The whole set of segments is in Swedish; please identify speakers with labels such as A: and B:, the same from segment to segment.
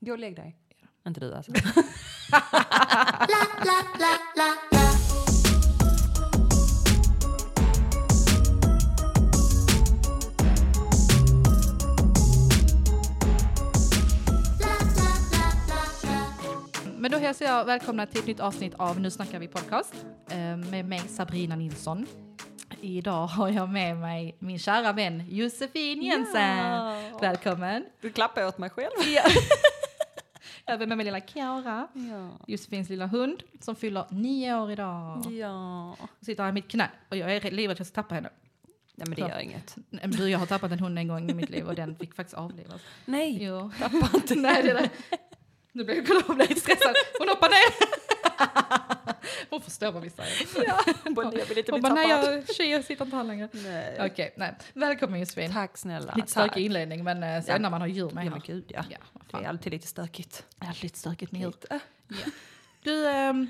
A: Gå och lägg dig. Inte du alltså.
B: Men då hälsar jag välkomna till ett nytt avsnitt av Nu snackar vi podcast eh, med mig Sabrina Nilsson. Idag har jag med mig min kära vän Josefin Jensen.
A: Ja.
B: Välkommen!
A: Du klappar jag åt mig själv.
B: Jag har med mig lilla Kiara,
A: Ja.
B: Josefins lilla hund som fyller nio år idag.
A: Ja.
B: Hon sitter här i mitt knä och jag är livrädd att jag ska tappa henne.
A: Nej men det
B: Ja.
A: gör inget.
B: Nej, men Du, jag har tappat en hund en gång i mitt liv och den fick faktiskt avlivas.
A: Nej.
B: Jo. Tappa inte Nej, det där. Nu blev jag kolla, blev stressad. Hon hoppar ner. Hon förstår vad vi säger.
A: Ja. Både jag vill inte
B: Hon
A: bli
B: bara,
A: tappad.
B: nej jag, tjej, jag sitter inte här längre.
A: Nej.
B: Okej, nej. Välkommen Josefin.
A: Tack snälla.
B: Lite
A: Tack.
B: stökig inledning men eh, sen
A: Ja.
B: när man har djur med
A: Ja men
B: här.
A: gud ja.
B: Ja, vad
A: Det är
B: fan.
A: alltid lite stökigt.
B: Jag hade lite stökigt med djur. Ja. Du, ehm,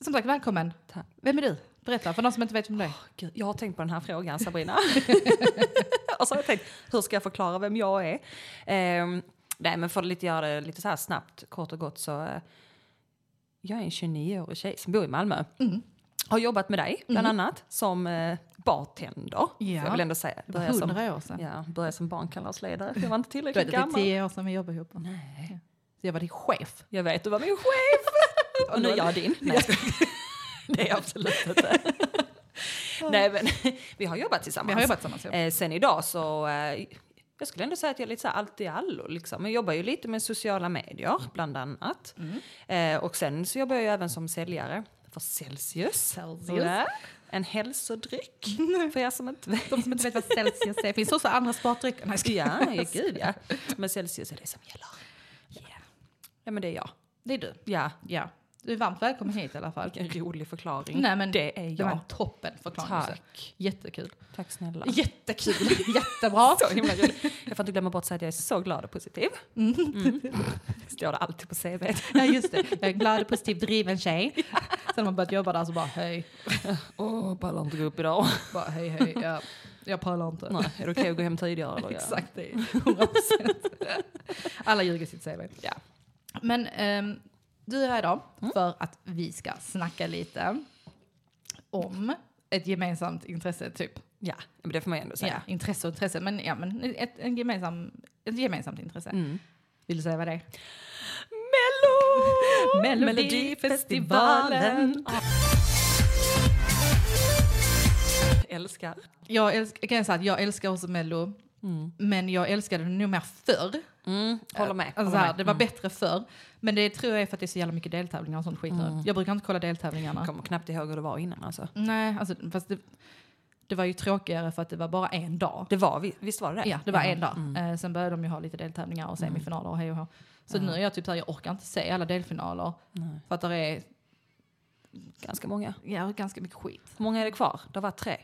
B: som sagt välkommen.
A: Tack.
B: Vem är du? Berätta för de som inte vet vem du är.
A: Gud, jag har tänkt på den här frågan Sabrina. och så har jag tänkt, hur ska jag förklara vem jag är? Ehm, nej men för att lite göra det lite så här snabbt, kort och gott så. eh, jag är en 29-årig tjej som bor i Malmö.
B: Mm.
A: Har jobbat med dig bland annat som eh, bartender.
B: Ja.
A: För Jag vill ändå säga,
B: Det var
A: började som,
B: hundra år sedan.
A: ja, började som barnkalasledare. Jag var inte
B: Du vet,
A: tillräckligt
B: det är
A: gammal.
B: tio år sedan vi jobbade ihop.
A: Nej,
B: Så jag var din chef.
A: jag vet du var min chef. och nu är jag din. Nej, jag skojar. det är jag absolut inte. Nej men vi har jobbat tillsammans.
B: Vi har jobbat tillsammans. ja.
A: Eh, sen idag så, eh, jag skulle ändå säga att jag är lite så här allt i allo liksom. Jag jobbar ju lite med sociala medier bland annat.
B: Mm.
A: Eh, och sen så jobbar jag ju även som säljare för Celsius.
B: Celsius.
A: Ja, En hälsodryck för er som inte vet.
B: De som inte vet vad Celsius är, finns också andra spartdrycker. Nej, jag skojar.
A: Ja, ja, gud ja. Men Celsius är det som gäller. Ja men det är jag.
B: Det är du.
A: Ja,
B: Ja. Du är varmt välkommen hit i alla fall.
A: vilken rolig förklaring.
B: Nej, men
A: det är
B: Det var
A: jag.
B: en toppen förklaring. Tack.
A: Tack.
B: Jättekul.
A: Tack snälla.
B: Jättekul. Jättebra.
A: Så himla roligt. Jag får inte glömma bort att säga att jag är så glad och positiv. Mm. Står det alltid på CV.
B: Ja, just det. Jag är en glad och positiv driven tjej. Sen när man börjat jobba där så bara hej,
A: Åh, pallar inte gå upp idag.
B: bara hej, hej. Jag, jag pallar inte.
A: Nej, är det okej att gå hem tidigare? Eller?
B: Exakt det. 100%. Alla ljuger sitt CV.
A: Ja. Mm.
B: Men ehm, du är här idag för att vi ska snacka lite om ett gemensamt intresse, typ.
A: Ja, men det får man ju ändå
B: Ja,
A: säga.
B: intresse och intresse, men, ja, men ett, en gemensam, ett gemensamt intresse.
A: Mm.
B: Vill du säga vad det är?
A: Mello!
B: Melodifestivalen.
A: Ah. Älskar.
B: Jag, älsk, jag kan säga att jag älskar också Mello, men jag älskade det nog mer förr.
A: Mm, håller med.
B: Alltså,
A: Håller
B: så här,
A: med.
B: det var bättre förr, men det tror jag är för att det är så jävla mycket deltävlingar och sånt skit nu. Jag brukar inte kolla deltävlingarna.
A: Kommer knappt ihåg hur det var innan alltså.
B: Nej, alltså, fast det, det var ju tråkigare för att det var bara en dag.
A: Det var, vi- visst var det Mm. det?
B: Ja, Mm. det var en dag. Eh, sen började de ju ha lite deltävlingar och semifinaler och hej och hå. Så nu är jag typ såhär, jag orkar inte se alla delfinaler.
A: Nej.
B: För att det är
A: Ganska många.
B: ja, ganska mycket skit.
A: Hur många är det kvar? Det var tre.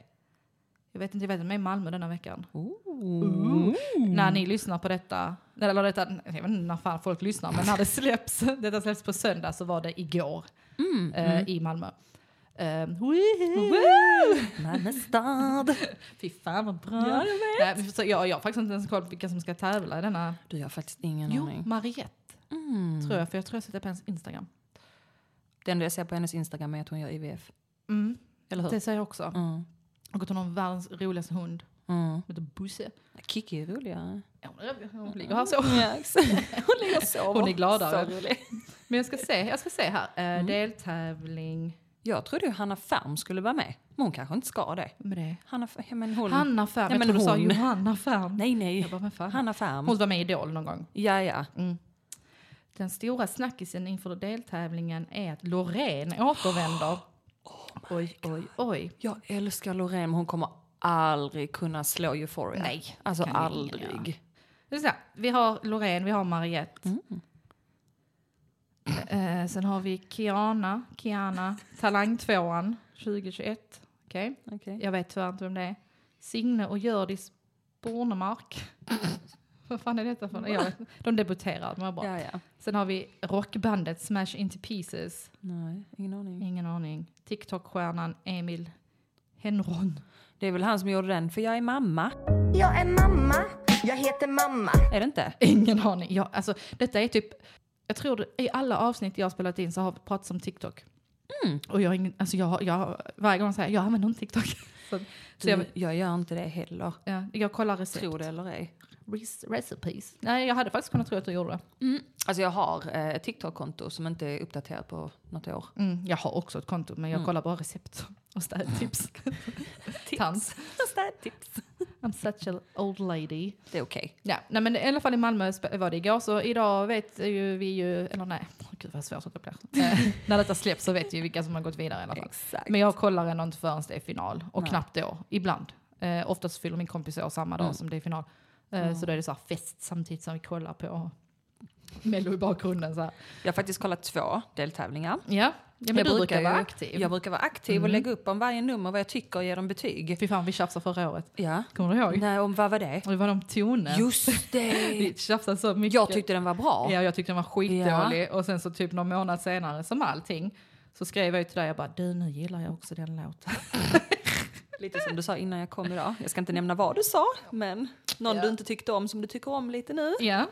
B: Jag vet inte, jag vet inte, med i Malmö denna veckan.
A: Ooh.
B: När ni lyssnar på detta, eller detta, jag vet inte när fan folk lyssnar, men när det släpps, detta släpps på söndag så var det igår
A: Mm.
B: eh, i Malmö. Eh, woho!
A: Malmö stad.
B: Fy fan vad bra. Ja, jag, Nej, så jag, jag har faktiskt inte ens koll på vilka som ska tävla i denna.
A: Du har faktiskt ingen
B: Jo,
A: aning.
B: Mariette
A: Mm.
B: tror jag, för jag tror jag sitter på hennes Instagram.
A: Det enda jag ser på hennes Instagram är att hon gör IVF.
B: Mm.
A: Eller hur?
B: Det säger jag också.
A: Mm.
B: Och att hon har världens roligaste hund.
A: Mm.
B: Hon heter Busse.
A: Kiki är roligare.
B: Ja, hon är- Hon ligger här så.
A: Ja, exakt. Hon ligger och sover.
B: Hon är gladare.
A: Så rolig.
B: Men jag ska se, jag ska se här. Eh,
A: Mm.
B: Deltävling.
A: Jag trodde ju Hanna Färm skulle vara med. Men hon kanske inte ska det.
B: Med det.
A: Hanna, F- ja, men hon.
B: Hanna Färm.
A: Nej,
B: jag
A: men
B: trodde du sa
A: hon.
B: Johanna Färm.
A: Nej,
B: Jag
A: nej.
B: bara, men fan.
A: Hanna Färm.
B: Hon var med i Idol någon gång.
A: Ja, ja.
B: Mm. Den stora snackisen inför deltävlingen är att Loreen återvänder.
A: Oj, oj.
B: Oj.
A: Jag älskar Loreen, men hon kommer aldrig kunna slå Euphoria.
B: Nej,
A: Alltså
B: det kan ingen
A: aldrig.
B: Det är så här, vi har Loreen, vi har Mariette.
A: Mm.
B: Eh, sen har vi Kiana, Kiana, Talangtvåan 2021. Okej.
A: Okej.
B: Jag vet tyvärr inte vem det är. Signe och Hjördis Bornemark. Vad fan är detta för något? Jag vet inte. De debuterar, de var bra.
A: Ja, ja.
B: Sen har vi rockbandet Smash Into Pieces.
A: Nej, ingen aning.
B: Ingen aning. TikTok-stjärnan Emil Henron.
A: Det är väl han som gjorde den, för jag är mamma.
C: Jag är mamma Jag heter mamma.
A: Är det inte?
B: Ingen aning. Jag, alltså, detta är typ, jag tror det, i alla avsnitt jag har spelat in så har vi pratat om TikTok. Och jag, har ingen, alltså jag, har- jag, varje gång säger jag, jag använder inte TikTok. så, så jag,
A: Du, jag gör inte det heller.
B: ja, jag kollar recept.
A: Tror det eller ej.
B: Res- recipes. Nej, jag hade faktiskt kunnat tro att du gjorde det.
A: Alltså jag har eh, ett TikTok-konto som inte är uppdaterat på något år.
B: Mm, jag har också ett konto men jag kollar bara recept och städtips. Tans.
A: Städtips.
B: I'm such an old lady.
A: Det är okej.
B: Ja, nej men i alla fall i Malmö sp- var det igår så idag vet ju vi ju, eller nej, åh, gud vad svårt det blir. Eh, när detta släpps så vet ju vilka som har gått vidare i alla fall.
A: Exakt.
B: Men jag kollar ändå inte förrän det är final och
A: Nej.
B: knappt då, ibland. Eh, oftast fyller min kompis år samma dag
A: Mm.
B: som det är final. Eh, Så då är det så här fest samtidigt som vi kollar på Mello i bakgrunden så här.
A: Jag har faktiskt kollat två deltävlingar.
B: Ja, ja men
A: Jag
B: du brukar
A: brukar
B: vara
A: ju-
B: aktiv. Mm.
A: Jag brukar vara aktiv och lägga upp om varje nummer vad jag tycker och ge dem betyg.
B: Fy fan vi tjafsade förra året.
A: Ja.
B: Kommer du ihåg?
A: Nej, om vad var det?
B: Och det var de tonen.
A: Just det!
B: Vi tjafsade så mycket.
A: Jag tyckte den var bra.
B: Ja, jag tyckte den var skitdålig. Och sen så typ någon månad senare, som allting, så skrev jag ju till dig, jag bara du nu gillar jag också den låten.
A: Lite som du sa innan jag kom idag. Jag ska inte nämna vad du sa, men någon
B: Ja.
A: du inte tyckte om som du tycker om lite nu.
B: Ja,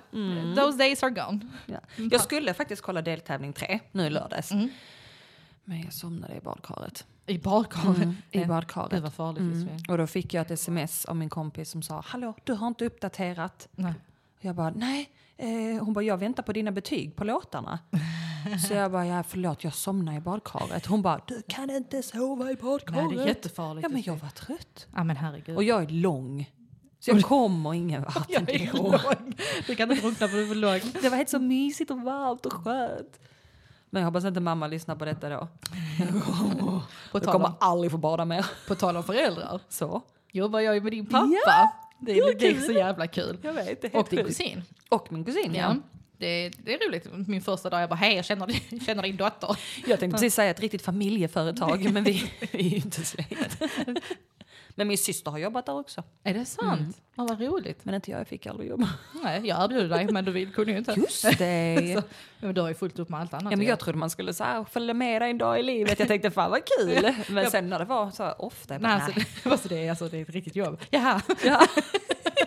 B: those days are gone.
A: Ja. Jag skulle faktiskt kolla deltävling tre nu i lördags.
B: Mm.
A: Men jag somnade i badkaret.
B: I badkaret.
A: Mm. I
B: Det
A: badkaret.
B: var farligt Josefin.
A: Och då fick jag ett sms av min kompis som sa “Hallå, du har inte uppdaterat”.
B: Nej.
A: Och jag bara “Nej”. Eh, hon bara “Jag väntar på dina betyg på låtarna”. Så jag bara “Ja, förlåt, jag somnade i badkaret”. Hon bara “Du kan inte sova i
B: Nej,
A: badkaret”.
B: det är jättefarligt.
A: ja, men jag var trött.
B: ja, men herregud.
A: Och jag är lång. Så jag kommer ingen vart
B: jag är
A: ändå.
B: låg. Du kan inte drunkna för du är för låg.
A: Det var helt så mysigt och varmt och skönt. Men jag hoppas inte mamma lyssnar på detta då.
B: På
A: Jag
B: tal,
A: kommer
B: om,
A: aldrig få bada mer.
B: på tal om föräldrar,
A: Så.
B: jobbar jag ju med din pappa. det, är, det är så jävla kul.
A: Jag vet, det är
B: Och din
A: sjukt.
B: kusin.
A: Och min kusin, ja.
B: Ja. Det, det är roligt. Min första dag jag bara, hej jag känner din, känner din dotter.
A: Jag tänkte precis säga ett riktigt familjeföretag, men vi, vi är ju inte släkt. Men min syster har jobbat där också.
B: Är det sant?
A: Mm.
B: Ja, vad roligt.
A: Men inte jag, jag fick aldrig jobba.
B: Nej, jag erbjuder dig men du vill, kunde ju inte.
A: Just det!
B: Så, men du har ju fullt upp med allt annat.
A: Ja, men
B: att göra.
A: jag trodde man skulle så här, följa med dig en dag i livet. Jag tänkte fan vad kul. Men sen när det var så här, ofta, jag bara,
B: Nej,
A: nej,
B: alltså, det, alltså, det, är, alltså, det är ett riktigt jobb. Jaha.
A: ja.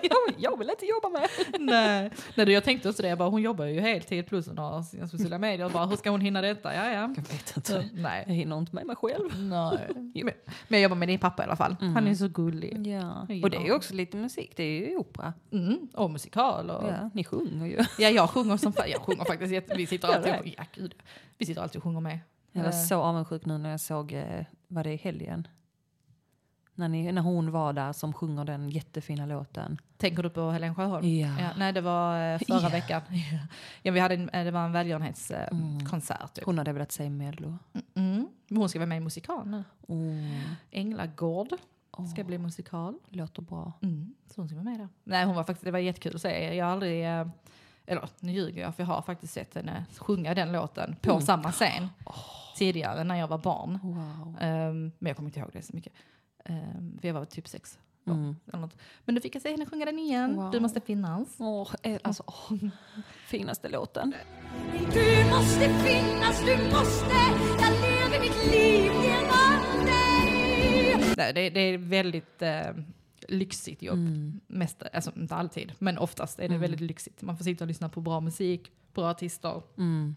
A: jag, jag vill inte jobba med.
B: Nej. Nej, du, jag tänkte också det. Jag bara, hon jobbar ju heltid plus hon har sina sociala medier. Jag Bara, hur ska hon hinna detta? Ja, ja.
A: Jag vet
B: Så,
A: inte. Jag
B: Nej.
A: hinner inte med mig själv.
B: Nej. Mm. Men, men jag jobbar med din pappa i alla fall. Han är så gullig.
A: Ja.
B: Ja.
A: Och det är ju också lite musik, det är ju opera.
B: Mm, och musikal. Och, ja.
A: Ja, ni sjunger ju.
B: jag sjunger som fan. Jag sjunger faktiskt jätte... Vi sitter
A: Gör
B: alltid,
A: det?
B: och, ja, gud. Vi sitter alltid och sjunger med.
A: Jag var
B: Eh,
A: så avundsjuk nu när jag såg, eh, var det i helgen? När, ni, när hon var där som sjunger den jättefina låten.
B: Tänker du på Helen Sjöholm?
A: Ja.
B: Ja, nej, det var eh, förra
A: Ja.
B: veckan. Ja, vi hade en, eh, det var en välgörenhetskonsert. Typ.
A: Hon hade velat säga Mello.
B: Mm. Men Hon ska vara med i musikal nu.
A: Oh,
B: Änglagård ska bli musikal.
A: låter bra.
B: Mm. Så hon ska vara med där. Nej, hon var faktiskt, det var jättekul att se. Jag har aldrig, eh, eller nu ljuger jag för jag har faktiskt sett henne sjunga den låten
A: Mm.
B: på samma scen
A: Oh.
B: tidigare när jag var barn.
A: Wow.
B: Ehm, men jag kommer inte ihåg det så mycket. Um, för jag var typ sex. då,
A: Mm.
B: Eller något. Men nu fick jag se henne sjunga den igen.
A: Wow.
B: Du måste finnas.
A: Åh, eh, alltså, åh, finaste låten.
D: Du måste finnas, du måste Jag lever mitt liv genom dig
B: Nej, det, det är väldigt eh, lyxigt jobb.
A: Mm.
B: Mest, alltså, inte alltid, men oftast är det väldigt lyxigt. Man får sitta och lyssna på bra musik, bra artister.
A: Mm.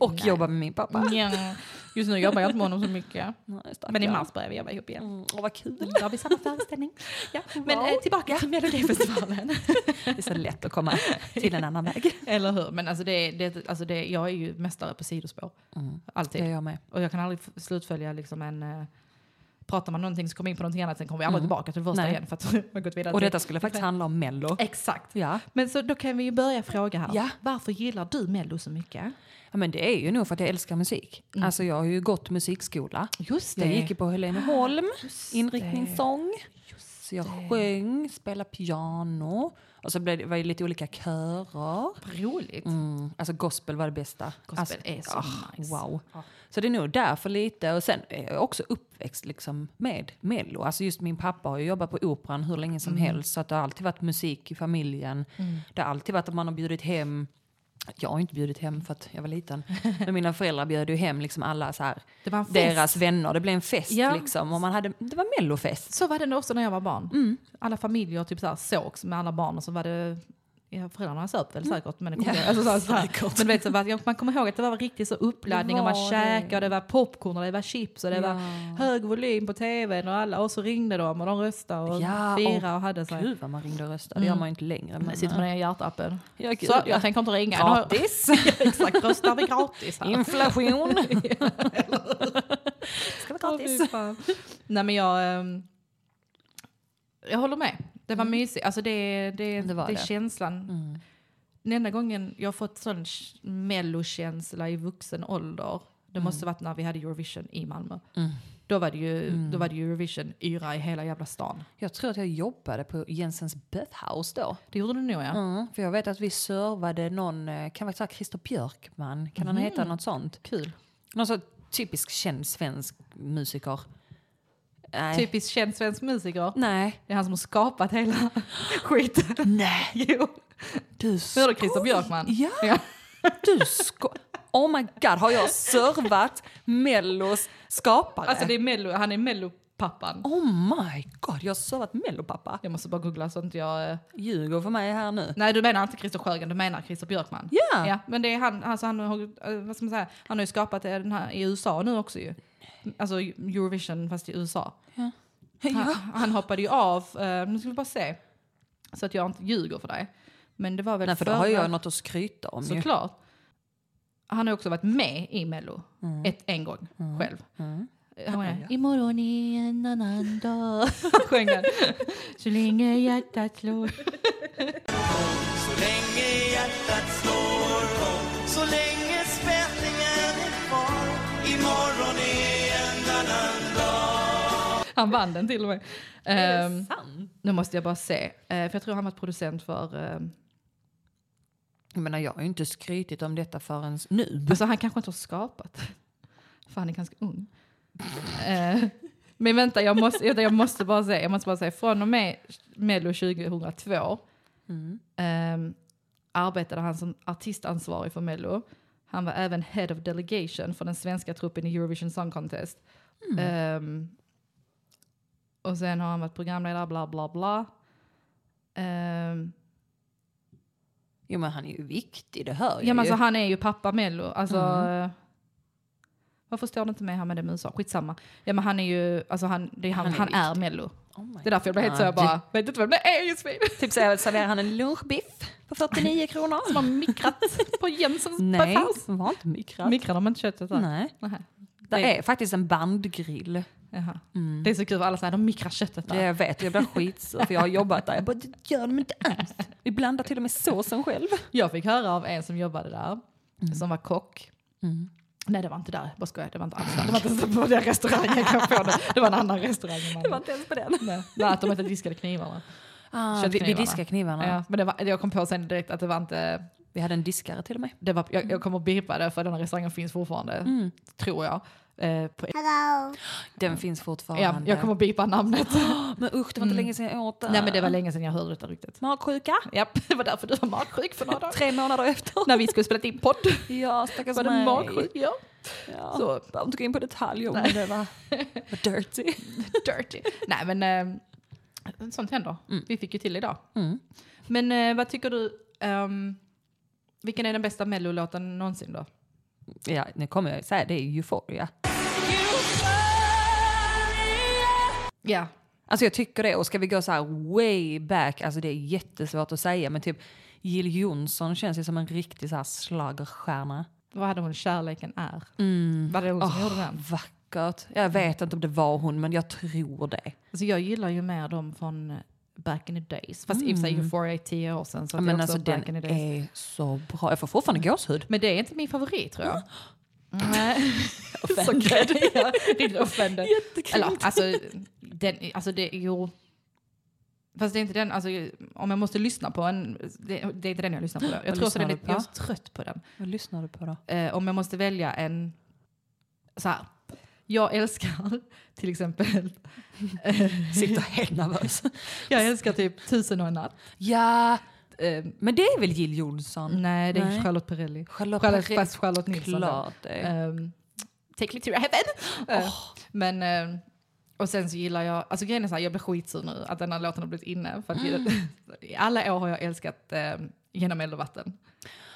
A: Och
B: Nej.
A: jobba med min pappa.
B: Nja. Just nu jobbar jag inte med honom så mycket.
A: Nej, stackarn.
B: Men i mars börjar vi jobba ihop igen.
A: Mm, åh, vad kul.
B: Då har vi samma föreställning. Ja. Men eh, tillbaka till Melodifestivalen.
A: Det är så lätt att komma till en annan väg.
B: Eller hur? Men alltså det, det, alltså det, jag är ju mästare på sidospår.
A: Mm, Det gör
B: Alltid.
A: jag med.
B: Och jag kan aldrig f- slutfölja liksom en... Eh, pratar man någonting så kommer vi in på någonting annat, sen kommer vi aldrig tillbaka till det första
A: Mm. Nej.
B: igen för att vi har gått vidare.
A: Och
B: till-
A: detta skulle faktiskt handla om Mello.
B: Exakt.
A: Ja.
B: Men så då kan vi ju börja fråga här.
A: Ja.
B: Varför gillar du Mello så mycket?
A: ja, men det är ju nog för att jag älskar musik. Alltså jag har ju gått musikskola.
B: Just
A: Jag gick ju på Heleneholm,
B: Just
A: inriktning sång. Så jag sjöng, spelade piano. Och så blev det, var det lite olika körer.
B: Roligt.
A: Mm, alltså gospel var det bästa.
B: Gospel
A: alltså,
B: är så
A: ah,
B: nice.
A: Wow. Så det är nog därför lite. Och sen är jag också uppväxt liksom med Mello. Alltså just min pappa har ju jobbat på Operan hur
B: Mm.
A: länge som helst. Så att det har alltid varit musik i familjen. Det har alltid varit att man har bjudit hem Jag har inte bjudit hem för att jag var liten. Men mina föräldrar bjöd ju hem liksom alla så här,
B: Det var en fest.
A: deras vänner. Det blev en fest
B: Ja.
A: liksom. Och man hade, det var mellofest.
B: Så var det nog också när jag var barn.
A: Mm.
B: Alla familjer typ så här sågs med alla barn och så var det Ja, föräldrarna söp väl säkert, men, det kommer
A: Mm. Ja,
B: jag- alltså, så här, så här. men du vet, så var, jag- man kommer ihåg att det var riktigt så uppladdning och
A: Det
B: man
A: var
B: käkade och det var popcorn och det var chips och det
A: Ja.
B: var hög volym på tvn och alla och så ringde de och de röstade och
A: Ja,
B: firade och hade så här.
A: Gud vad man ringde och röstade. Det gör man ju inte längre.
B: Nu sitter man i hjärtappen.
A: Ja, gud,
B: så,
A: ja.
B: jag tänker inte ringa. Nu har-
A: Gratis!
B: Exakt, röstar vi gratis här.
A: Inflation! ska vara
B: Åh,
A: gratis.
B: fy fan. Nej men jag... ehm, Jag håller med. Det var mysigt. Alltså det, det,
A: Mm. Det
B: det,
A: var
B: är
A: det.
B: känslan.
A: Mm.
B: Den enda gången jag har fått sån sh- mellokänsla i vuxen ålder, det måste varit när vi hade Eurovision i Malmö.
A: Mm.
B: Då var det ju, då var det ju Eurovision-yra i hela jävla stan.
A: Jag tror att jag jobbade på Jensens Bathhouse då.
B: Det gjorde du nog ja.
A: Mm, för jag vet att vi servade någon, eh, kan vara Christer Björkman, kan han heta något sånt?
B: Kul.
A: Någon så typisk känd svensk musiker. Nej.
B: Typiskt känd svensk musiker.
A: Typ- Nej.
B: Det är han som har skapat hela skiten.
A: Nej.
B: Jo.
A: Du
B: Hörde Christer Björkman?
A: Ja,
B: Ja.
A: du sko... Oh my god, har jag servat Mellos skapare?
B: Alltså det är mello, han är mellopappan.
A: Oh my god, jag har servat Mellopappa.
B: Jag måste bara googla så inte jag... eh,
A: Ljuger för mig här nu.
B: Nej du menar inte Christer Sjögren, du menar Christer Björkman.
A: Ja.
B: Ja, men det är han, alltså han, har, eh, vad ska man säga, han har ju skapat eh, den här i USA nu också ju. Alltså Eurovision fast i USA. Han, han hoppade ju av, eh, nu ska vi bara se. Så att jag inte ljuger för dig. Men det var väl
A: Nej, för då
B: förra-
A: har jag något att skryta om ju.
B: Såklart. Han har också varit med i Mello
A: Mm.
B: ett, en gång själv. Han var där, Imorgon är en annan dag. Sjöng han. Så länge hjärtat slår.
C: Så länge hjärtat slår och så länge spänningen är kvar Imorgon är en annan
B: Han vann den till och med. Ehm,
A: Sant.
B: nu måste jag bara se. Eh, för jag tror han var producent för... ehm,
A: Jag menar, jag har ju inte skrytit om detta förrän nu.
B: alltså han kanske inte har skapat. För han är ganska ung. Eh, men vänta, jag måste, jag, jag måste bara säga. Jag måste bara säga. Från och med Mello 2002 ehm, arbetade han som artistansvarig för Mello. Han var även head of delegation för den svenska truppen i Eurovision Song Contest. Ehm, och sen har han varit programledare, bla bla bla. Ehm,
A: Jo, men han är ju viktig, det hör jag
B: Ja men
A: ju.
B: alltså han är ju pappa Mello. Alltså, eh, Varför står det inte med här med det med USA? Skitsamma. Ja men han är ju, alltså han, det är, han,
A: Han
B: han,
A: är
B: är, Mello.
A: Oh my
B: Det är därför jag blev helt så jag
A: God.
B: bara, vet inte vem det är just nu.
A: Typ så här, serverar han en lunchbiff på 49 kronor.
B: Som har mikrat på Jensens
A: Nej,
B: buffhouse.
A: det var inte mikrat.
B: Mikrar de inte köttet där?
A: Nej,
B: Nej.
A: det är faktiskt en bandgrill.
B: Jaha. Det är så kul för alla säger de mikrar köttet
A: Det
B: där.
A: jag vet, jag blir skitsur för jag har jobbat där. Jag bara, det gör de inte alls. Vi blandar till och med såsen själv.
B: Jag fick höra av en som jobbade där, som var kock. Nej det var inte där, bara skojar. Det var inte alls där. Det var inte ens på den restaurangen jag kom på det. Det var en annan restaurang. i Malmö.
A: inte ens på den.
B: Nej, Nej, att de inte diskade knivarna.
A: Ah, vi, vi
B: Köttknivarna.
A: diskar knivarna.
B: Ja, men det var, jag kom på sen direkt att det var inte...
A: Vi hade en diskare till och med.
B: Det var, jag, jag kommer att bipa det för den här restaurangen finns fortfarande, tror jag. Eh, på,
A: Den finns
B: ja,
A: fortfarande.
B: jag kommer att bipa namnet.
A: Men usch, det var inte länge sedan jag åt den.
B: Nej men det var länge sedan jag hörde detta ryktet.
A: Magsjuka,
B: Ja, det var därför du var magsjuk för några dagar.
A: tre månader efter.
B: När vi skulle spela in podd
A: Ja, stackars
B: var du
A: mig.
B: magsjuk. Ja,
A: Ja.
B: så
A: Behöver inte gå in på detaljer om det var, var dirty.
B: dirty. Nej men eh, sånt händer. Vi fick ju till idag. Men eh, vad tycker du, ehm, vilken är den bästa mellolåten någonsin då?
A: Ja, nu kommer jag säga det är euphoria.
B: Ja,
A: Alltså jag tycker det. Och ska vi gå så här way back, alltså det är jättesvårt att säga men typ Jill Johnson känns ju som en riktig så här schlagerstjärna.
B: vad hade hon Kärleken är? Var det hon som gjorde den?
A: Vackert. Jag vet inte om det var hon men jag tror det.
B: Alltså jag gillar ju mer dem från eh, back in the days. Fast i och för sig Euphoria är tio år sedan. Så
A: Mm. Ja,
B: att det är
A: men alltså
B: också back in
A: den
B: the days.
A: är så bra. Jag får fortfarande gåshud.
B: Men det är inte min favorit tror jag. Nej. Offended. ja, riktigt offended. Eller alltså, den, alltså det, jo. Fast det är inte den, alltså om jag måste lyssna på en, det, det är inte den jag lyssnar på. Då. Jag tror så
A: lyssnar
B: den är,
A: du
B: lite-
A: på?
B: jag är så trött på den.
A: Vad lyssnar du på då?
B: Eh, om jag måste välja en, så här. Jag älskar till exempel,
A: Sitter helt nervös.
B: jag älskar typ Tusen och en natt.
A: Ja,
B: eh,
A: Men det är väl Jill Johnson?
B: nej, det är
A: Nej.
B: Charlotte Perrelli.
A: Charlotte
B: Mm. Charlotte,
A: Perrelli.
B: fast Charlotte Nilsson. då.
A: Klart det.
B: Ehm, Take me to heaven! Eh, Men, eh, och sen så gillar jag, alltså grejen är så här, jag blir skitsur nu att den här låten har blivit inne. För att I alla år har jag älskat eh, Genom eld och vatten.